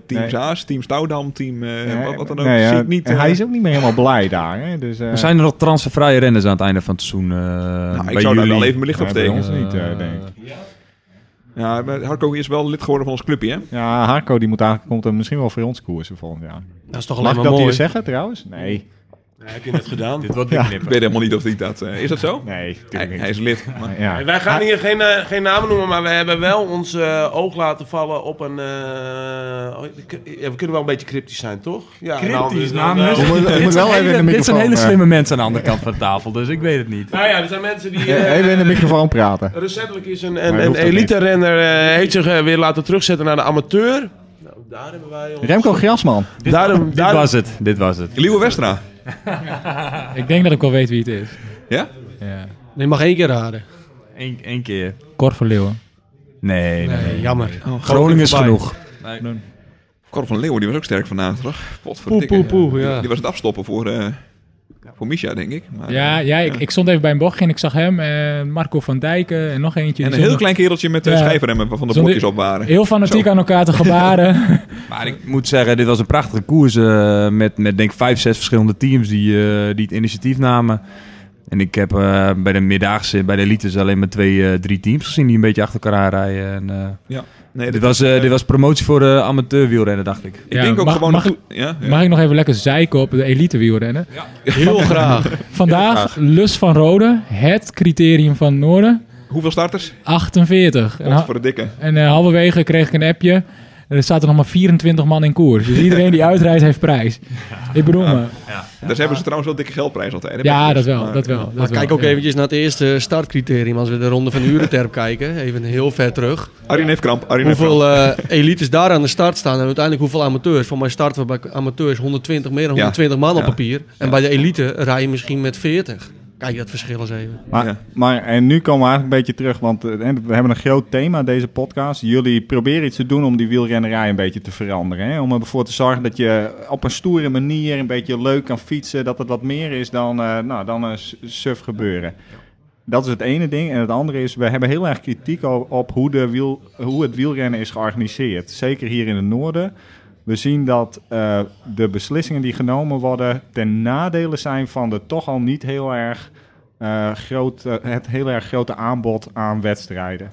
B: team
A: Nee.
B: Zaas, team Stoudam, team eh,
A: Nee,
B: wat, wat dan ook.
A: nee,
B: zie
A: ja,
B: ik niet,
A: en
B: eh,
A: hij is ook niet meer helemaal blij daar. Hè? Dus, eh,
D: er zijn er nog transfervrije renners aan het einde van het seizoen. eh,
B: nou, ik
D: bij
B: zou daar
D: jullie.
B: wel even mijn licht
A: Ja,
B: op
A: bij
B: steken.
A: ons niet, eh, denk ik.
B: Ja, maar Harko is wel lid geworden van ons clubje, hè?
A: Ja, Harco die moet eigenlijk, komt er misschien wel voor ons koersen volgend jaar.
G: Dat is toch
A: Mag
G: alleen
A: ik
G: maar
A: dat
G: mooi.
A: hier zeggen trouwens? Nee.
E: heb je net gedaan.
D: Dit wordt weer
B: Ik
D: knippen.
B: weet helemaal niet of hij dat... eh, is dat zo?
A: Nee,
B: Hij,
A: natuurlijk
B: hij
A: niet.
B: is lid. maar-
A: Ja.
E: Wij gaan hier geen, eh, geen namen noemen, maar we hebben wel ons eh, oog laten vallen op een... eh, oh, ik- ja, we kunnen wel een beetje cryptisch zijn, toch? Ja,
D: Cryptisch,
E: nou, dus dan,
D: namens-
A: Je
E: eh,
A: moet, je
D: Dit
A: moet
D: zijn
A: wel even
D: hele-
A: in de
D: dit zijn
A: microfoon...
D: hele
A: eh,
D: slimme mensen aan de andere kant van de tafel, dus ik weet het niet.
E: nou ja, er zijn mensen die... eh,
A: Even in de microfoon praten.
E: Recentelijk is een,
A: Maar
E: een,
A: dat
E: een
A: hoeft ook
E: elite renner eh, heeft zich eh, weer laten terugzetten naar de amateur. Nou, daar hebben wij ons...
A: Remco Grasman.
E: Daarom,
D: Dit
E: daarom,
D: was het, dit was het.
B: Leeuwen Westra.
C: Ik denk dat ik wel weet wie het is.
B: Ja?
C: Ja.
G: Nee, je mag één keer raden.
D: Eén één keer.
C: Cor van Leeuwen.
D: Nee, nee.
G: Nee, jammer.
D: Groningen is genoeg.
B: Cor van Leeuwen, die was ook sterk vanavond, toch?
G: Poe,
B: Potverdikke.
G: poe, poe,
B: Die-
G: ja.
B: Die was het afstoppen voor, eh voor Misha, denk ik. Maar,
C: Ja, ja ik, ik stond even bij een bochtje en ik zag hem, eh, Marco van Dijken en nog eentje.
B: En
C: Die
B: een heel
C: stonden
B: klein kereltje met eh
C: Ja.
B: schijfremmen waarvan de
C: Zo'n
B: blokjes
C: ding-
B: op waren.
C: heel fanatiek
B: Zo.
C: aan elkaar te gebaren.
D: Maar ik moet zeggen, dit was een prachtige koers eh, met, met denk ik vijf, zes verschillende teams die, eh, die het initiatief namen. En ik heb eh, bij de middagse, bij de elites alleen maar twee, eh, drie teams gezien die een beetje achter elkaar rijden. En, eh,
B: Nee,
D: dit, was, eh, dit was promotie voor eh, amateurwielrennen, dacht ik.
B: Ik
C: Ja,
B: denk ook
C: mag-
B: gewoon...
C: mag-
B: een goed- ja, ja.
C: Mag ik nog even lekker zeiken op de elite wielrennen?
G: Heel graag.
C: Vandaag Lus van Rode, het criterium van het Noorden,
B: Hoeveel starters?
C: 48. En, ha-
B: Potverdikke.
C: en eh, halverwege kreeg ik een appje. Er zaten nog maar 24 man in koers. Dus iedereen die uitrijdt heeft prijs. Ik bedoel me.
B: Daar hebben ze trouwens wel dikke geldprijs altijd. hè,
C: Ja,
B: bij
C: dat
B: de koers.
C: wel.
B: Maar,
C: Dat wel dat
G: Maar kijk
C: wel,
G: ook
C: ja.
G: eventjes naar het eerste startcriterium. Als we de ronde van Urenterp kijken, even heel ver terug.
B: eh, Arjen heeft kramp. Arjen heeft
G: Hoeveel eh, elites daar aan de start staan en uiteindelijk hoeveel amateurs. Voor mij starten we bij amateurs 120, meer dan 120 man op
B: Ja.
G: papier. En bij de elite rij je misschien met 40. Kijk dat verschil eens even.
A: Maar,
B: Ja.
A: maar en nu komen we eigenlijk een beetje terug, want eh, we hebben een groot thema deze podcast. Jullie proberen iets te doen om die wielrennerij een beetje te veranderen. Hè? Om ervoor te zorgen dat je op een stoere manier een beetje leuk kan fietsen. Dat het wat meer is dan, eh, nou, dan een s- suf gebeuren. Dat is het ene ding. En het andere is, we hebben heel erg kritiek o- op hoe, de wiel, hoe het wielrennen is georganiseerd. Zeker hier in het noorden. We zien dat eh, de beslissingen die genomen worden ten nadele zijn van de toch al niet heel erg, eh, grote, het heel erg grote aanbod aan wedstrijden.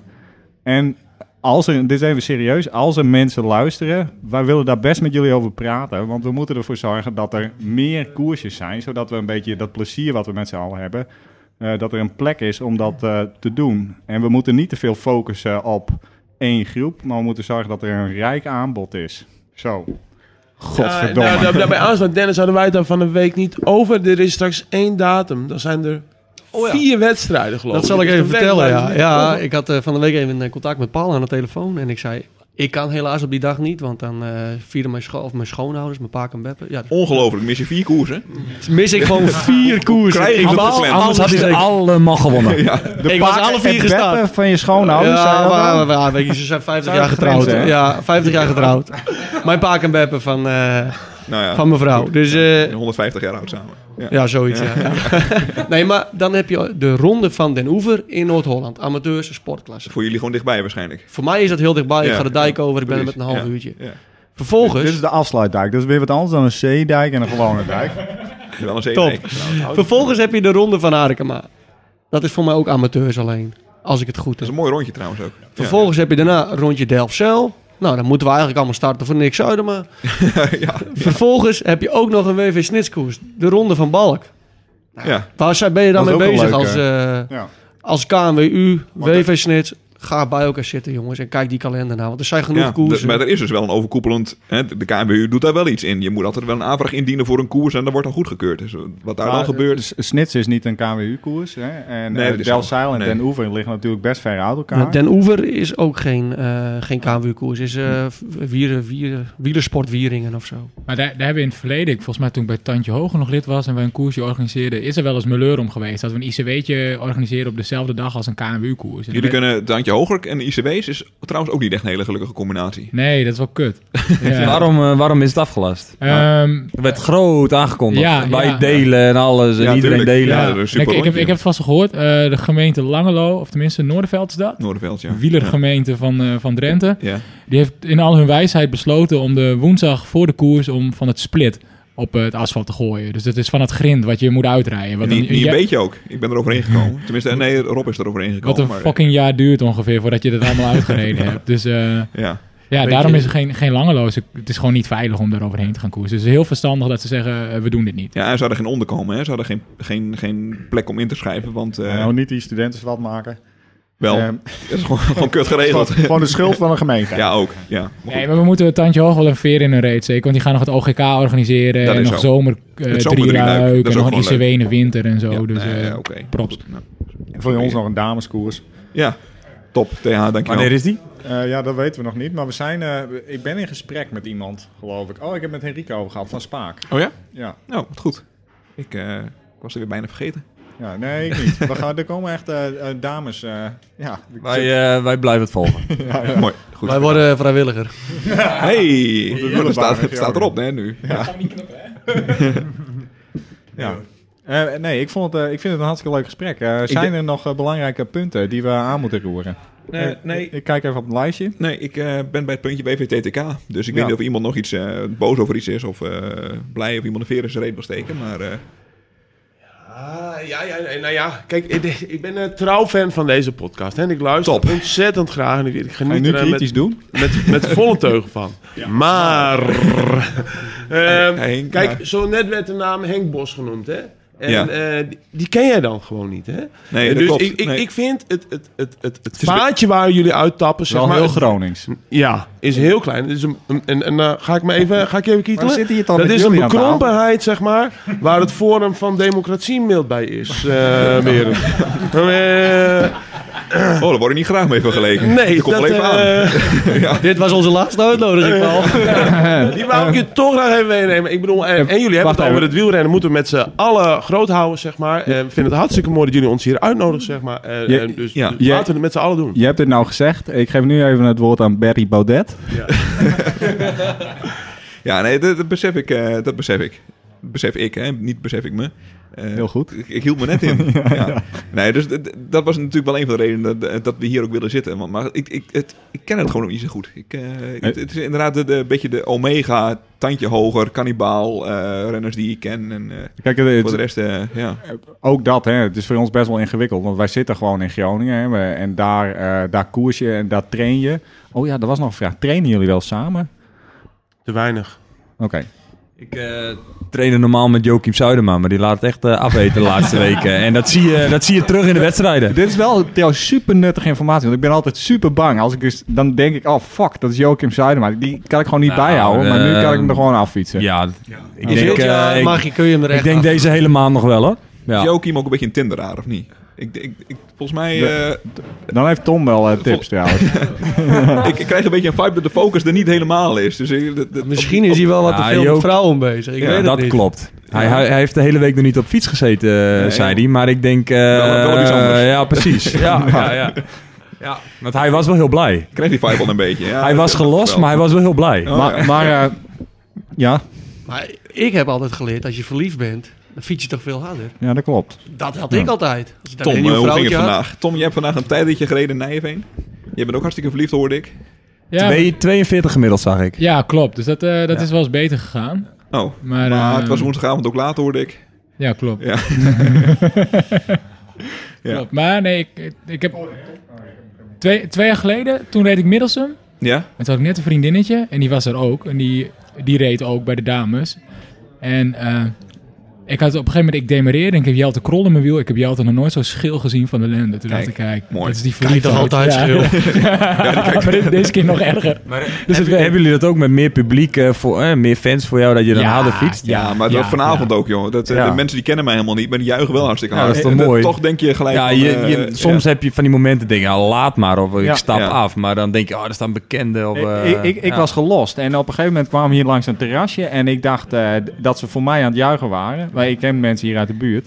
A: En als er, dit is even serieus, als er mensen luisteren, wij willen daar best met jullie over praten. Want we moeten ervoor zorgen dat er meer koersjes zijn, zodat we een beetje dat plezier wat we met z'n allen hebben, eh, dat er een plek is om dat eh, te doen. En we moeten niet te veel focussen op één groep, maar we moeten zorgen dat er een rijk aanbod is. Zo. Godverdomme.
E: Nou, daar- daarbij aansluit, Dennis, hadden wij het daar van een week niet over. Er is straks één datum. Dan zijn er vier wedstrijden, geloof
G: Dat
E: ik.
G: zal ik
E: Dus
G: even
E: de
G: vertellen,
E: wedstrijd
G: ja.
E: is
G: ja
E: niet-
G: ik had eh, van de week even eh, contact met Paul aan de telefoon. En ik zei, ik kan helaas op die dag niet. Want dan eh vieren mijn, scho of mijn schoonouders, mijn pa en beppen. Ja,
B: Ongelooflijk, mis je vier koersen.
G: eh, mis ik gewoon vier koersen.
B: krijg ik dat
G: Paul,
B: geslemd?
D: Anders had hij ze
G: Anderstek.
D: allemaal gewonnen.
A: De
G: Ik was
A: paken
G: alle vier
A: en
G: gestart.
A: beppen van je schoonouders. zei
G: ja,
A: dat dan?
G: maar, maar, weet je, ze zijn 50 jaar getrouwd.
A: grenzen, hè?
G: Ja, 50 jaar getrouwd. Mijn pa en beppen van, eh,
B: Nou ja,
G: van mevrouw. Dus eh,
B: 150 jaar oud samen. Ja.
G: Ja, zoiets. Ja. Ja. nee, maar dan heb je de ronde van Den Oever in Noord-Holland. Amateurs, sportklasse.
B: Voor jullie gewoon dichtbij waarschijnlijk.
G: Voor mij is dat heel dichtbij. Ik
B: Ja,
G: ga de dijk over. Ik ben er met
B: Precies.
G: een half
B: Ja,
G: uurtje.
B: Ja.
G: Vervolgens,
A: Dit is de afsluitdijk. Dat is weer wat anders dan een zeedijk en een gewone dijk.
B: Nou, Wel een
G: Top.
B: zeedijk. Dat
G: vervolgens heb je de ronde van Arkema. Dat is voor mij ook amateurs alleen. Als ik het goed
B: is
G: heb.
B: een mooi rondje trouwens ook.
G: Vervolgens heb je daarna rondje Delfzijl. Nou, dan moeten we eigenlijk allemaal starten voor niks Zuidema.
B: Ja. ja.
G: Vervolgens heb je ook nog een WV Snitskoers. De ronde van Balk. Nou,
B: ja.
G: Waar zijn- ben je dan
A: Dat
G: mee
A: is ook
G: bezig
A: een
G: als,
A: leuke.
G: eh,
A: Ja.
G: als KNWU,
A: Want dat-
G: WV Snit? Ga bij elkaar zitten, jongens. En kijk die kalender na. Want er zijn genoeg
B: Ja, d-
G: koersen.
B: maar er is dus wel een overkoepelend... Hè, de KNWU doet daar wel iets in. Je moet altijd wel een aanvraag indienen voor een koers... en dat wordt dan goedgekeurd. Dus wat daar
G: eh,
B: dan
A: Maar,
B: gebeurt...
A: S- Snits is niet een KWU-koers. En
B: Nee,
A: eh,
B: dat is
A: Delfzijl en
B: zo. Nee.
A: Den Oever liggen natuurlijk best ver uit elkaar.
G: Nou, Den Oever is ook geen, eh geen KMW-koers. is eh wieren, wieren, wielersport Wieringen of zo.
C: Maar daar, daar hebben we in het verleden, ik, volgens mij toen ik bij Tantje Hoger nog lid was en wij een koersje organiseerden, is er wel eens meleur om geweest. Dat we een ICW'tje organiseren op dezelfde dag als een KNWU-koers. En
B: Jullie
C: dan-
B: kunnen het handje hoger en ICB's is trouwens ook niet echt een hele gelukkige combinatie.
C: Nee, dat is wel kut. ja.
D: Waarom, eh, waarom is het afgelast?
C: Ehm,
D: Er werd groot aangekondigd.
C: Ja,
D: Wij
C: ja.
D: delen en alles en
B: Ja,
D: iedereen
B: tuurlijk.
D: delen.
B: Ja,
C: ja.
B: dat is een super
C: ik, ik, heb,
B: rondje.
C: ik heb het vast al gehoord. eh, de gemeente Langelo, of tenminste Noorderveld is dat.
B: Noorderveld, ja.
C: Wielergemeente van, eh, van Drenthe.
B: Ja.
C: Die heeft in al hun wijsheid besloten om de woensdag voor de koers om van het split op eh, het asfalt te gooien. Dus dat is van het grind wat je moet uitrijden. Wat
B: Niet,
C: een-
B: niet
C: ja-
B: een beetje ook. Ik ben er overheen gekomen. Tenminste, nee, Rob is er overheen gekomen.
C: Wat een
B: maar, eh,
C: fucking jaar duurt ongeveer voordat je dat allemaal uitgereden hebt. Dus eh,
B: Ja.
C: Ja,
E: Weet
C: daarom
E: je-
C: is er geen, geen langeloos. Het is gewoon niet veilig om daar overheen te gaan koersen. Dus het is heel verstandig dat ze zeggen, eh, we doen dit niet.
B: Ja, en ze hadden geen onderkomen. Hè? Ze hadden geen, geen, geen plek om in te schrijven. Want eh,
A: nou, niet die studenten wat maken.
B: wel,
A: Ehm,
B: het is gewoon, gewoon kut
A: gewoon,
B: geregeld.
A: gewoon de schuld van een gemeente.
B: Ja, ook. Ja. Maar goed,
C: Nee, maar we moeten het tandje hoog wel een veer in hun reet zeker. Want die gaan nog het OGK organiseren.
B: Dat
C: en
B: is
C: nog
B: zo.
C: zomer, eh,
B: Het
C: drie
B: zomerdrieluik, dat
C: luik.
B: is
C: En
B: ook
C: nog een ICW
B: gewoon
C: in de winter en zo.
B: ja,
C: dus
B: nee,
C: eh,
B: ja, oké.
C: props.
B: Nou,
A: En voor ons nog een dameskoers.
B: ja, top. TH, dankjewel.
D: Wanneer is die?
A: Eh, ja, dat weten we nog niet. Maar we zijn, eh, ik ben in gesprek met iemand, geloof ik. Oh, ik heb met Henrico over gehad van Spaak.
B: Oh ja?
A: Ja,
B: Nou, wat goed. Ik eh, was er weer bijna vergeten.
A: ja nee, ik niet. We gaan, er komen echt eh, eh, dames. eh, ja, ik
D: Wij,
A: zit-
D: eh, wij blijven het volgen.
B: Mooi. Goed.
G: Wij worden vrijwilliger.
B: Hey, ja, dat staat,
A: wielerbaan,
B: het
A: ja.
B: staat erop hè, nu. Ja.
A: ja. Eh, nee, ik, vond het, eh, ik vind het een hartstikke leuk gesprek. Eh, zijn er nog eh, belangrijke punten die we aan moeten roeren? Eh,
B: Nee, nee,
A: Ik kijk even op het lijstje.
B: Nee, ik eh, ben bij het puntje BVTTK. Dus ik
A: Ja.
B: weet niet of iemand nog iets eh, boos over iets is. Of eh, blij of iemand een veer in zijn reet wil steken. Maar eh,
E: Ah, ja, ja, nee, nou ja. Kijk, ik, ik ben een trouw fan van deze podcast. En ik luister
B: Top.
E: ontzettend graag. En ik, ik
A: Ga je
E: geniet
A: nu
E: er eh,
A: kritisch
E: met,
A: doen?
E: met, met volle teugen van. Maar... ehm,
B: Henk,
E: kijk,
B: ja.
E: zo net werd de naam Henk Bos genoemd, hè? En
B: Ja.
E: eh, die, die ken jij dan gewoon niet, hè?
B: nee,
E: En
B: dat
E: dus
B: klopt.
E: Ik, ik,
B: Nee.
E: ik vind het, het, het, het, het
B: is
E: vaatje waar jullie uittappen, zeg
A: Wel
E: maar...
A: heel
E: het-
A: Gronings.
E: ja, is heel klein. Is een, een- en en eh, ga ik me even, ga ik je even
A: Maar
E: kietelen?
A: zitten hier dan
E: Dat
A: met
E: is een
A: jullie aan tafel?
E: bekrompenheid, zeg maar, waar het Forum van Democratie mild bij is. eh Merel. Eh,
B: Oh, daar word ik niet graag mee vergeleken.
E: nee,
B: dat komt wel
E: dat,
B: even aan.
E: eh,
G: Dit was onze laatste uitnodiging, Paul.
E: die wou ik je toch nog even meenemen. Ik bedoel, en, en jullie hebben
A: wacht
E: het over
A: even.
E: het wielrennen. Moeten we met z'n allen groot houden, zeg maar. En ik vind het hartstikke mooi dat jullie ons hier uitnodigen, zeg maar. En,
A: Je-
E: en dus
B: ja.
E: dus
A: Je-
E: laten we het met z'n allen doen.
A: Je hebt dit nou gezegd. Ik geef nu even het woord aan Barry Baudet.
B: Ja, nee, dat, dat besef ik. eh, dat besef ik. Dat besef ik, hè. Niet besef ik me. Eh,
A: Heel goed.
B: Ik, ik hield me net in. ja, Nee, dus dat- dat was natuurlijk wel een van de redenen dat, dat we hier ook willen zitten. Want, maar ik, ik, het, ik ken het gewoon nog niet zo goed. Ik, eh, het, het is inderdaad een beetje de omega, tandje hoger, kannibaal, eh, renners die ik ken. En eh,
A: Kijk, het,
B: voor de
A: het-
B: rest, eh, ja.
A: ook dat, hè, het is voor ons best wel ingewikkeld. Want wij zitten gewoon in Groningen hè, we- en daar, eh, daar koers je en daar train je. Oh ja, er was nog een vraag. Trainen jullie wel samen?
E: Te weinig.
A: Oké.
D: Ik eh trainde normaal met Joachim Zuidema, maar die laat het echt eh, afweten de laatste weken. En dat zie, je, dat zie je terug in de wedstrijden.
A: Dit is wel trouwens super nuttige informatie. Want ik ben altijd super bang. Als ik dus, dan denk ik, oh fuck, dat is Joachim Zuidema. Die kan ik gewoon niet
D: Nou,
A: bijhouden. Maar nu
D: eh,
A: kan ik hem er gewoon affietsen.
D: Ja, ik
G: Als
D: denk,
G: dit jaar
D: eh, ik,
G: mag je, kun je hem er
D: ik
G: echt
D: denk
G: af.
D: deze hele maand nog wel hoor.
B: Is
D: Ja.
B: Joachim ook een beetje een tinderaar, of niet? Ik, ik, ik- volgens mij,
A: Dan heeft Tom wel eh, tips trouwens.
B: eh, ik, ik krijg een beetje een vibe dat de focus er niet helemaal is. Dus ik, dat- dat-
G: Misschien is hij wel wat te
D: Ja,
G: veel met
D: Joop-
G: vrouwen bezig. Ik
B: Ja,
G: weet het
D: dat
G: niet.
D: klopt. Hij, hij, hij heeft de hele week nog niet op fiets gezeten, eh, zei hij. Maar ik denk... eh,
B: wel iets anders.
D: eh, ja, precies. ja, ja, ja. ja, want hij was wel heel blij.
B: ik krijg die vibe al een beetje. Ja,
D: Hij
B: dat-
D: was
B: dat-
D: gelost,
B: wel.
D: maar hij was wel heel blij.
A: maar maar eh, ja,
G: Maar ik heb altijd geleerd, als je verliefd bent, dan fiets je toch veel harder.
A: ja, dat klopt.
G: Dat had
A: Ja.
G: ik altijd. Als ik dan
B: Tom,
G: een
B: eh,
G: nieuw
B: hoe ging
G: vrouwtje
B: het
G: had.
B: vandaag? Tom, je hebt vandaag een tijdritje gereden in Nijveen. Je bent ook hartstikke verliefd, hoorde ik.
C: Ja,
D: Twee- 42 gemiddeld zag ik.
C: ja klopt. Dus dat, eh, dat is wel eens beter gegaan.
B: Oh,
C: Maar,
B: maar
D: Ehm.
C: eh,
B: het was woensdagavond ook laat, hoorde ik.
C: Ja, klopt.
B: Ja. Ja.
C: Klopt. Maar nee, ik, ik heb... Twee, twee jaar geleden, toen reed ik Middelsum.
B: Ja?
C: En toen had ik net een vriendinnetje en die was er ook. En die, die reed ook bij de dames. En eh, ik had op een gegeven moment, ik demareerde en ik heb Jelte Krol in mijn wiel. Ik heb Jelte nog nooit zo schil gezien van de lende. Toen dacht ik,
B: Kijk,
C: kijk,
B: mooi.
C: dat is die
G: Kijk, toch
C: verliefdheid.
G: altijd schil.
C: Ja, maar dit- deze keer nog erger.
D: Dus
C: het werkt.
D: hebben jullie dat ook met meer publiek, eh, voor, eh, meer fans voor jou, dat je dan harder fietst?
B: Ja, maar dat vanavond ook, joh. Dat, eh,
D: Ja.
B: De mensen die kennen mij helemaal niet, maar die juichen wel hartstikke
D: Ja,
B: hard.
D: dat is
B: Eh,
D: toch mooi?
B: Toch denk je gelijk
D: Ja,
B: van,
D: je,
B: eh,
D: je, soms
B: ja.
D: heb je van die momenten denk je, ah, laat maar, of ik
A: Ja.
D: stap
B: Ja.
D: af. Maar dan denk je, oh, er staan bekenden. Of, eh,
A: ik ik, ik
D: ja.
A: was gelost. En op een gegeven moment kwamen we hier langs een terrasje. En ik dacht eh, d- dat ze voor mij aan het juichen waren. Maar ik ken mensen hier uit de buurt.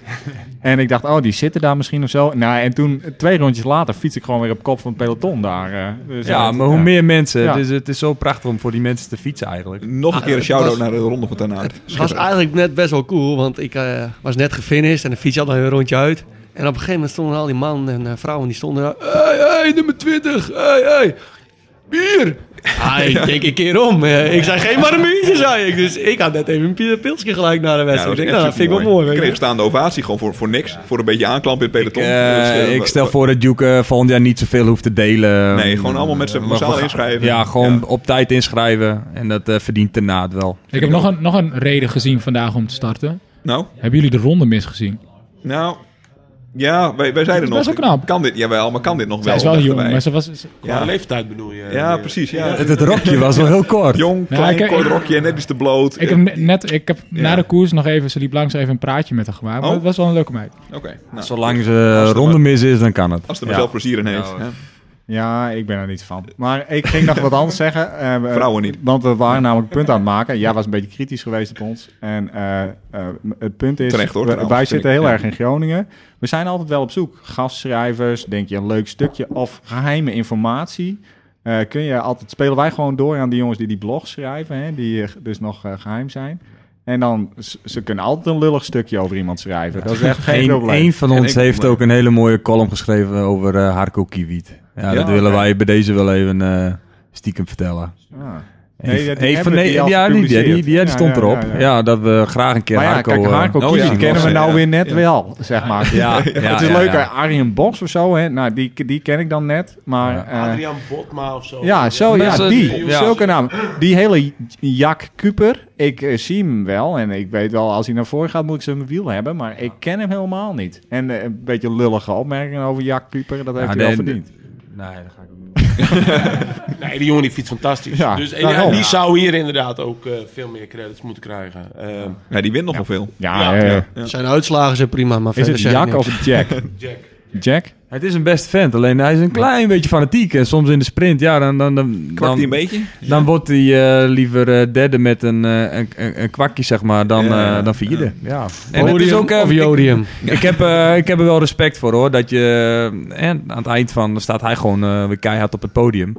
A: en ik dacht, oh, die zitten daar misschien of zo. Nou, en toen, twee rondjes later, fiets ik gewoon weer op kop van het peloton daar. eh. Dus
D: Ja,
A: dat-
D: maar hoe meer mensen,
A: Ja.
D: het, is, het is zo prachtig om voor die mensen te fietsen eigenlijk.
B: Nog een keer een
G: het
B: shout-out
G: Ah, was-
B: naar de Ronde van Ten Aard.
G: Het was eigenlijk net best wel cool, want ik eh, was net gefinished en dan fiets je altijd een rondje uit. En op een gegeven moment stonden al die mannen en eh, vrouwen die stonden daar. Hé, hey, hey, nummer 20, hey, hey, bier. Ah, ik keek een keer om. Eh, ik zei geen maar een muurtje, zei ik. Dus ik had net even een pi- pilsje gelijk na de wedstrijd. ik denk, nou, dat vind ik wel mooi.
B: Ik
G: weet je.
B: kreeg staande ovatie gewoon voor, voor niks. Voor een beetje aanklampen in het peloton. Dus,
D: Eh,
B: eh,
D: ik
B: wa-
D: stel
B: wa-
D: voor dat Duke eh, volgend jaar niet zoveel hoeft te delen.
B: Nee, gewoon allemaal met z'n
D: Eh,
B: massaal
D: we-
B: inschrijven.
D: Ja, gewoon
B: Ja.
D: op tijd inschrijven. En dat eh, verdient de naad wel.
C: Ik heb nog een, nog een reden gezien vandaag om te starten.
B: Nou,
C: Hebben jullie de ronde misgezien?
B: nou. Ja, wij, wij zeiden
C: Dat is
B: nog.
C: best wel knap.
B: Kan dit, jawel, maar kan dit nog
C: Zij
B: wel?
C: is wel
B: dachten
C: jong,
B: wij.
C: maar ze was... ze-
E: Qua
B: Ja,
E: leeftijd bedoel je.
B: ja
E: meer.
B: precies. eh, Ja.
D: Het, het rokje was wel heel kort.
B: Jong,
C: Ja,
B: klein,
C: ik-
B: kort
C: ik-
B: rokje, net iets te bloot.
C: Ik
B: Eh,
C: heb net, ik heb na
B: Ja.
C: de koers nog even, ze liep langs even een praatje met haar gemaakt. Maar
B: Oh.
C: het was wel een leuke meid.
B: Oké, nou,
D: Zolang ze
B: Als het
D: ronde
B: maar-
D: mis is, dan kan het.
B: als het er
D: Ja.
B: maar zelf plezier in heeft.
D: Ja,
B: hè.
A: Ja, ik ben er niet van. Maar ik ging nog wat anders zeggen. Eh, we-
B: Vrouwen niet.
A: Want we waren namelijk een punt aan het maken. Jij was een beetje kritisch geweest op ons. En eh, eh, het punt is,
B: Terecht, hoor,
A: we-
B: trouwens,
A: wij
B: vind
A: zitten
B: ik.
A: heel
B: Ja.
A: erg in Groningen. We zijn altijd wel op zoek. Gastschrijvers, denk je een leuk stukje of geheime informatie. Eh, kun je altijd, spelen wij gewoon door aan die jongens die die blog schrijven, hè, die eh, dus nog eh, geheim zijn. En dan, ze- ze kunnen altijd een lullig stukje over iemand schrijven. Dat is echt geen,
D: Geen,
A: probleem.
D: één van
B: Geen
D: ons
B: enkel
D: heeft
B: probleem.
D: ook een hele mooie column geschreven over eh Harko Kiewiet. Ja,
B: Ja,
D: dat willen
B: oké.
D: wij bij deze wel even eh, stiekem vertellen.
A: Ah.
D: Eén-
A: dat- die
D: één
A: hebben we, die al
D: ja, die, die, die,
A: gepubliceerd.
D: die
A: Ja,
D: stond
A: ja,
D: erop.
A: ja,
D: Ja,
A: ja.
D: dat we graag een keer
A: Maar ja,
D: Harko...
A: kijk,
D: eh,
A: Harko
B: oh
A: Kiewit
B: ja,
A: kennen we
B: ja,
A: nou
B: ja.
A: weer net
B: Ja.
A: wel, zeg maar.
D: Ja,
A: het is leuk, hè, Arjen Bos of zo, hè? Nou, die, die ken ik dan net, maar...
D: Ja.
A: eh,
E: Adriaan Botma of zo. Eh,
A: ja, zo,
D: Maar
A: ja,
D: ze-
A: die.
D: ja.
A: Zulke naam. Die hele Jack Kuper. Ik eh, zie hem wel. En ik weet wel, als hij naar voren gaat, moet ik zijn wiel hebben. Maar ik ken hem helemaal niet. En eh, een beetje lullige opmerkingen over Jack Kuper. Dat heeft
D: Ja,
A: hij wel
D: nee,
A: verdiend.
D: Nou, Nee, dat ga ik ook niet.
E: Nee, die jongen die fietst fantastisch.
A: Ja,
E: dus en,
A: daarom.
E: en die zou hier inderdaad ook eh, veel meer credits moeten krijgen. Ehm,
B: Ja, die wint nogal veel.
A: Ja,
E: Ja,
A: eh,
G: Zijn uitslagen zijn prima, maar
A: is
G: verder
A: het
G: zeg ik
A: Jack
G: niks.
A: of Jack?
E: Jack.
A: Jack?
D: Het is een best vent, alleen hij is een klein beetje fanatiek. En soms in de sprint, ja, dan, dan, dan,
B: Kwakt die een
D: dan,
B: beetje?
D: dan wordt hij eh, liever eh, derde met een, eh, een, een, een kwakje, zeg maar, dan,
B: Ja.
D: eh, dan vierde. Ja. En het
G: Podium
D: is ook, eh,
G: of
D: ik-
G: jodium.
D: Ik heb, eh, ik heb er wel respect voor hoor. Dat je eh, en aan het eind van dan staat hij gewoon eh, weer keihard op het podium.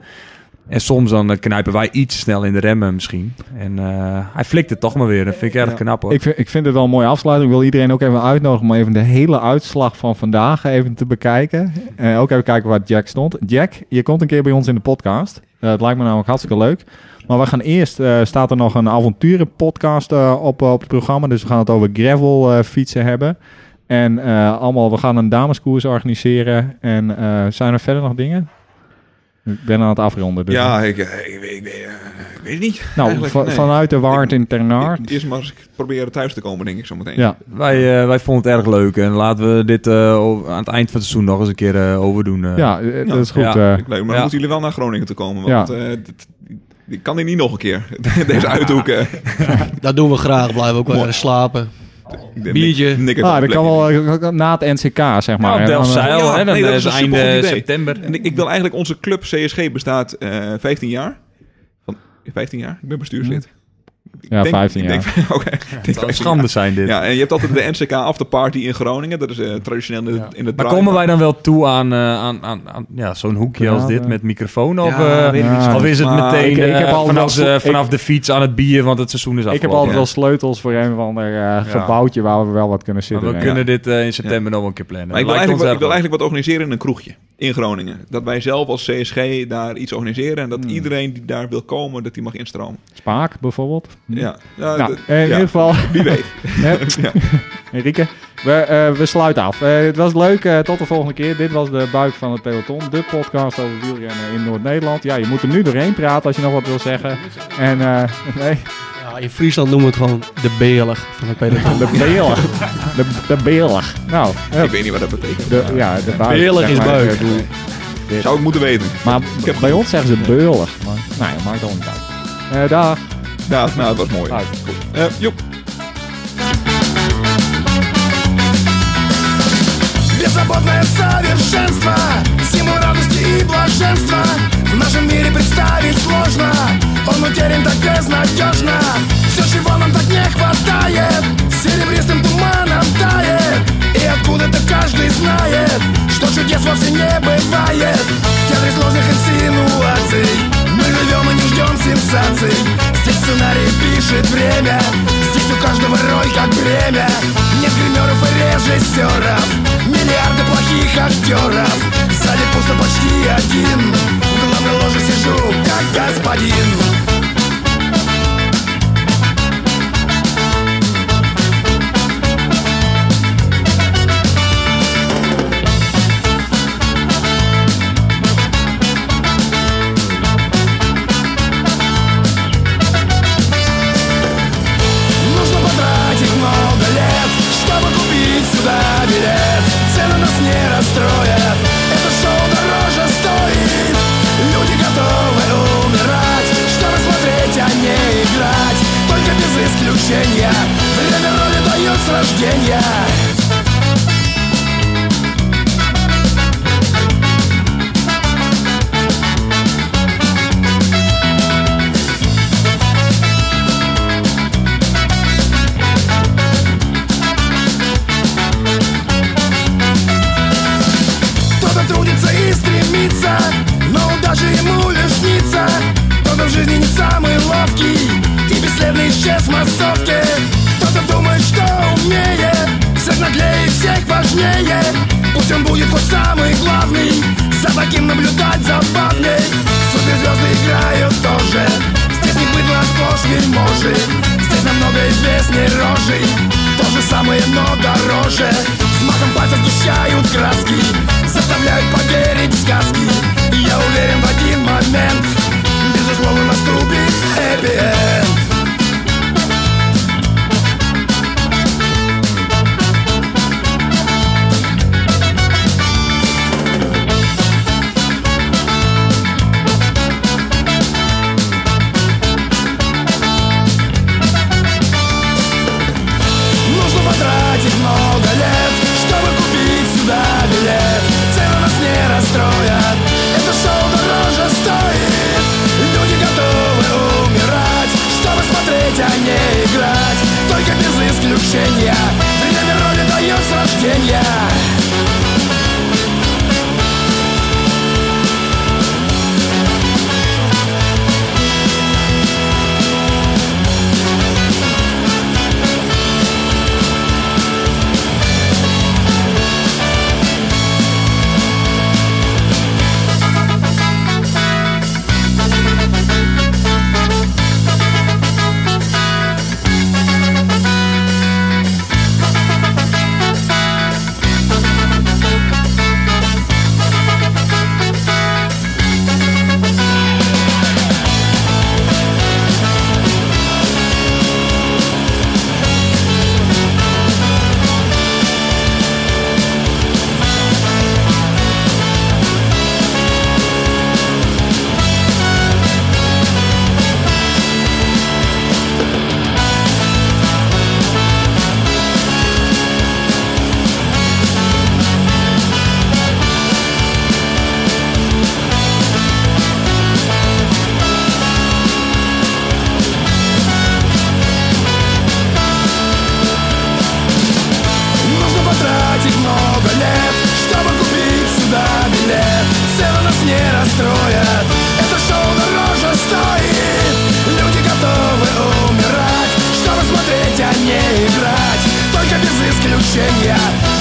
D: En soms dan eh, knijpen wij iets snel in de remmen misschien. En eh, hij flikt het toch maar weer. Dat vind ik erg knap hoor.
A: Ik vind, ik vind het wel een mooie afsluiting. Ik wil iedereen ook even uitnodigen om even de hele uitslag van vandaag even te bekijken. Eh, ook even kijken waar Jack stond. Jack, je komt een keer bij ons in de podcast. Eh het lijkt me namelijk hartstikke leuk. Maar we gaan eerst, eh, staat er nog een avonturenpodcast eh op, op het programma. Dus we gaan het over gravel eh, fietsen hebben. En eh, allemaal, we gaan een dameskoers organiseren. En eh, zijn er verder nog dingen? Ik ben aan het afronden. Dus.
B: Ja, ik, eh, ik, weet- ik, weet- eh, ik weet het niet.
A: nou,
B: eigenlijk,
A: va-
B: nee.
A: vanuit de Waard in Ternaard.
B: Eerst maar eens proberen thuis te komen, denk ik zo meteen.
A: Ja,
D: Wij, eh, wij vonden het erg leuk. En laten we dit eh, o- aan het eind van het seizoen nog eens een keer eh, overdoen. eh.
A: ja, eh, dat is goed.
D: Ja.
A: eh.
B: Leuk, maar dan
D: Ja.
B: moeten jullie wel naar Groningen te komen. Want eh dit- ik kan dit niet nog een keer. Deze eh. uithoeken.
G: Dat doen we graag. Blijven ook wel ergens slapen. Biertje.
B: Nick heeft
A: Ah, dat
B: een plek.
A: kan wel eh, na het NCK, zeg maar.
D: Nou,
A: hè. Dan, eh,
D: Delfzijl,
B: Ja,
D: hè, dan
B: nee, dat
D: eh,
B: is een
D: eind
B: supergoed
D: eh,
B: idee.
D: september.
B: En ik, ik wil eigenlijk onze club CSG bestaat eh 15 jaar. Van 15 jaar? Ik ben bestuurslid. Ik
A: Ja, 15
B: ik Denk, Oké. ik denk
D: Het zou
B: 15
D: schande zijn dit.
B: jaar. Ja, en je hebt altijd de NCK afterparty in Groningen. Dat is eh, traditioneel in, het- in het
D: Maar
B: draai-
D: komen wij dan wel toe aan, eh, aan, aan, aan ja, zo'n hoekje
A: Ja,
D: als dit
A: ja.
D: met microfoon? Of,
A: Ja,
D: eh,
A: weet ik niet.
D: of is het
B: Maar
D: meteen
A: ik- ik
D: eh,
A: heb al
D: vanaf,
A: wel-
D: de, vanaf de fiets aan het bier, want het seizoen is
A: Ik
D: afgelopen.
A: heb altijd
B: ja.
A: wel sleutels voor een of ander eh, gebouwtje waar we wel wat kunnen
D: Maar
A: zitten.
D: we
A: denk ik.
D: kunnen dit eh, in september nog wel een keer plannen.
B: Maar ik wil,
D: Lijkt
B: eigenlijk,
D: ons
B: wat- ik
D: erg
B: wil
D: leuk.
B: eigenlijk wat organiseren in een kroegje in Groningen. Dat wij zelf als CSG daar iets organiseren. En dat
D: Hmm.
B: iedereen die daar wil komen, dat die mag instromen.
A: Spaak bijvoorbeeld.
D: Hmm.
B: Ja, ja,
A: Nou,
B: dat-
A: eh, in
B: ja.
A: ieder geval,
B: Wie weet.
A: hè,
B: Ja.
A: Enrique, we, eh, we sluiten af. Eh, het was leuk, eh, tot de volgende keer. Dit was de Buik van het Peloton, de podcast over wielrennen in Noord-Nederland. Ja, je moet er nu doorheen praten als je nog wat wil zeggen. En eh, nee,
G: Ja, in Friesland noemen we het gewoon de beelig van het peloton.
A: de beelig. De, de beelig. Nou, eh,
B: Ik weet niet wat dat betekent.
A: de, ja, de buik.
G: Beelig
A: zeg
G: is
A: maar. eh,
G: buik.
A: Ik bedoel,
B: Zou ik moeten weten.
A: Maar bij ons zeggen ze beulig. Maar, nou ja, maakt al niet uit. Eh, dag.
B: Ja, nou, dat was mooi.
A: Uit.
B: Eh, joep.
H: Беззаботное совершенство Зиму радости и блаженства В нашем мире представить сложно Он утерян так безнадежно Все, чего нам так не хватает Серебристым туманом тает И откуда-то каждый знает Что чудес вовсе не бывает В театре сложных инсинуаций Мы живем и не ждем сенсаций Здесь сценарий пишет время Здесь у каждого роль как бремя Нет гримеров и режиссеров Миллиарды плохих актеров В зале пусто почти один В главной ложе сижу, как господин
B: ощущения Время роли дает с рождения Кто-то трудится и стремится, но даже ему лишь снится Кто-то в жизни не самый ловкий и бесследно исчез в массовке Кто-то думает, что умнее, всех наглее, всех важнее Пусть он будет хоть самый главный, за таким наблюдать забавней Суперзвезды играют тоже, здесь не быдло, а сплошь вельможи Здесь намного известней рожей, то же самое, но дороже Взмахом пальцев сгущают краски Заставляют поверить в сказки И я уверен в один момент Безусловно наступит happy end. Нужно потратить много лет, чтобы купить сюда билет Цены нас не расстроят, это шоу дороже стоит Люди готовы умирать, чтобы смотреть, а не играть Только без исключения, время роли дает с рождения Нужно потратить много лет, чтобы купить сюда билет Цены нас не расстроят, это шоу дороже стоит Люди готовы умирать, чтобы смотреть, а не играть Только без исключения,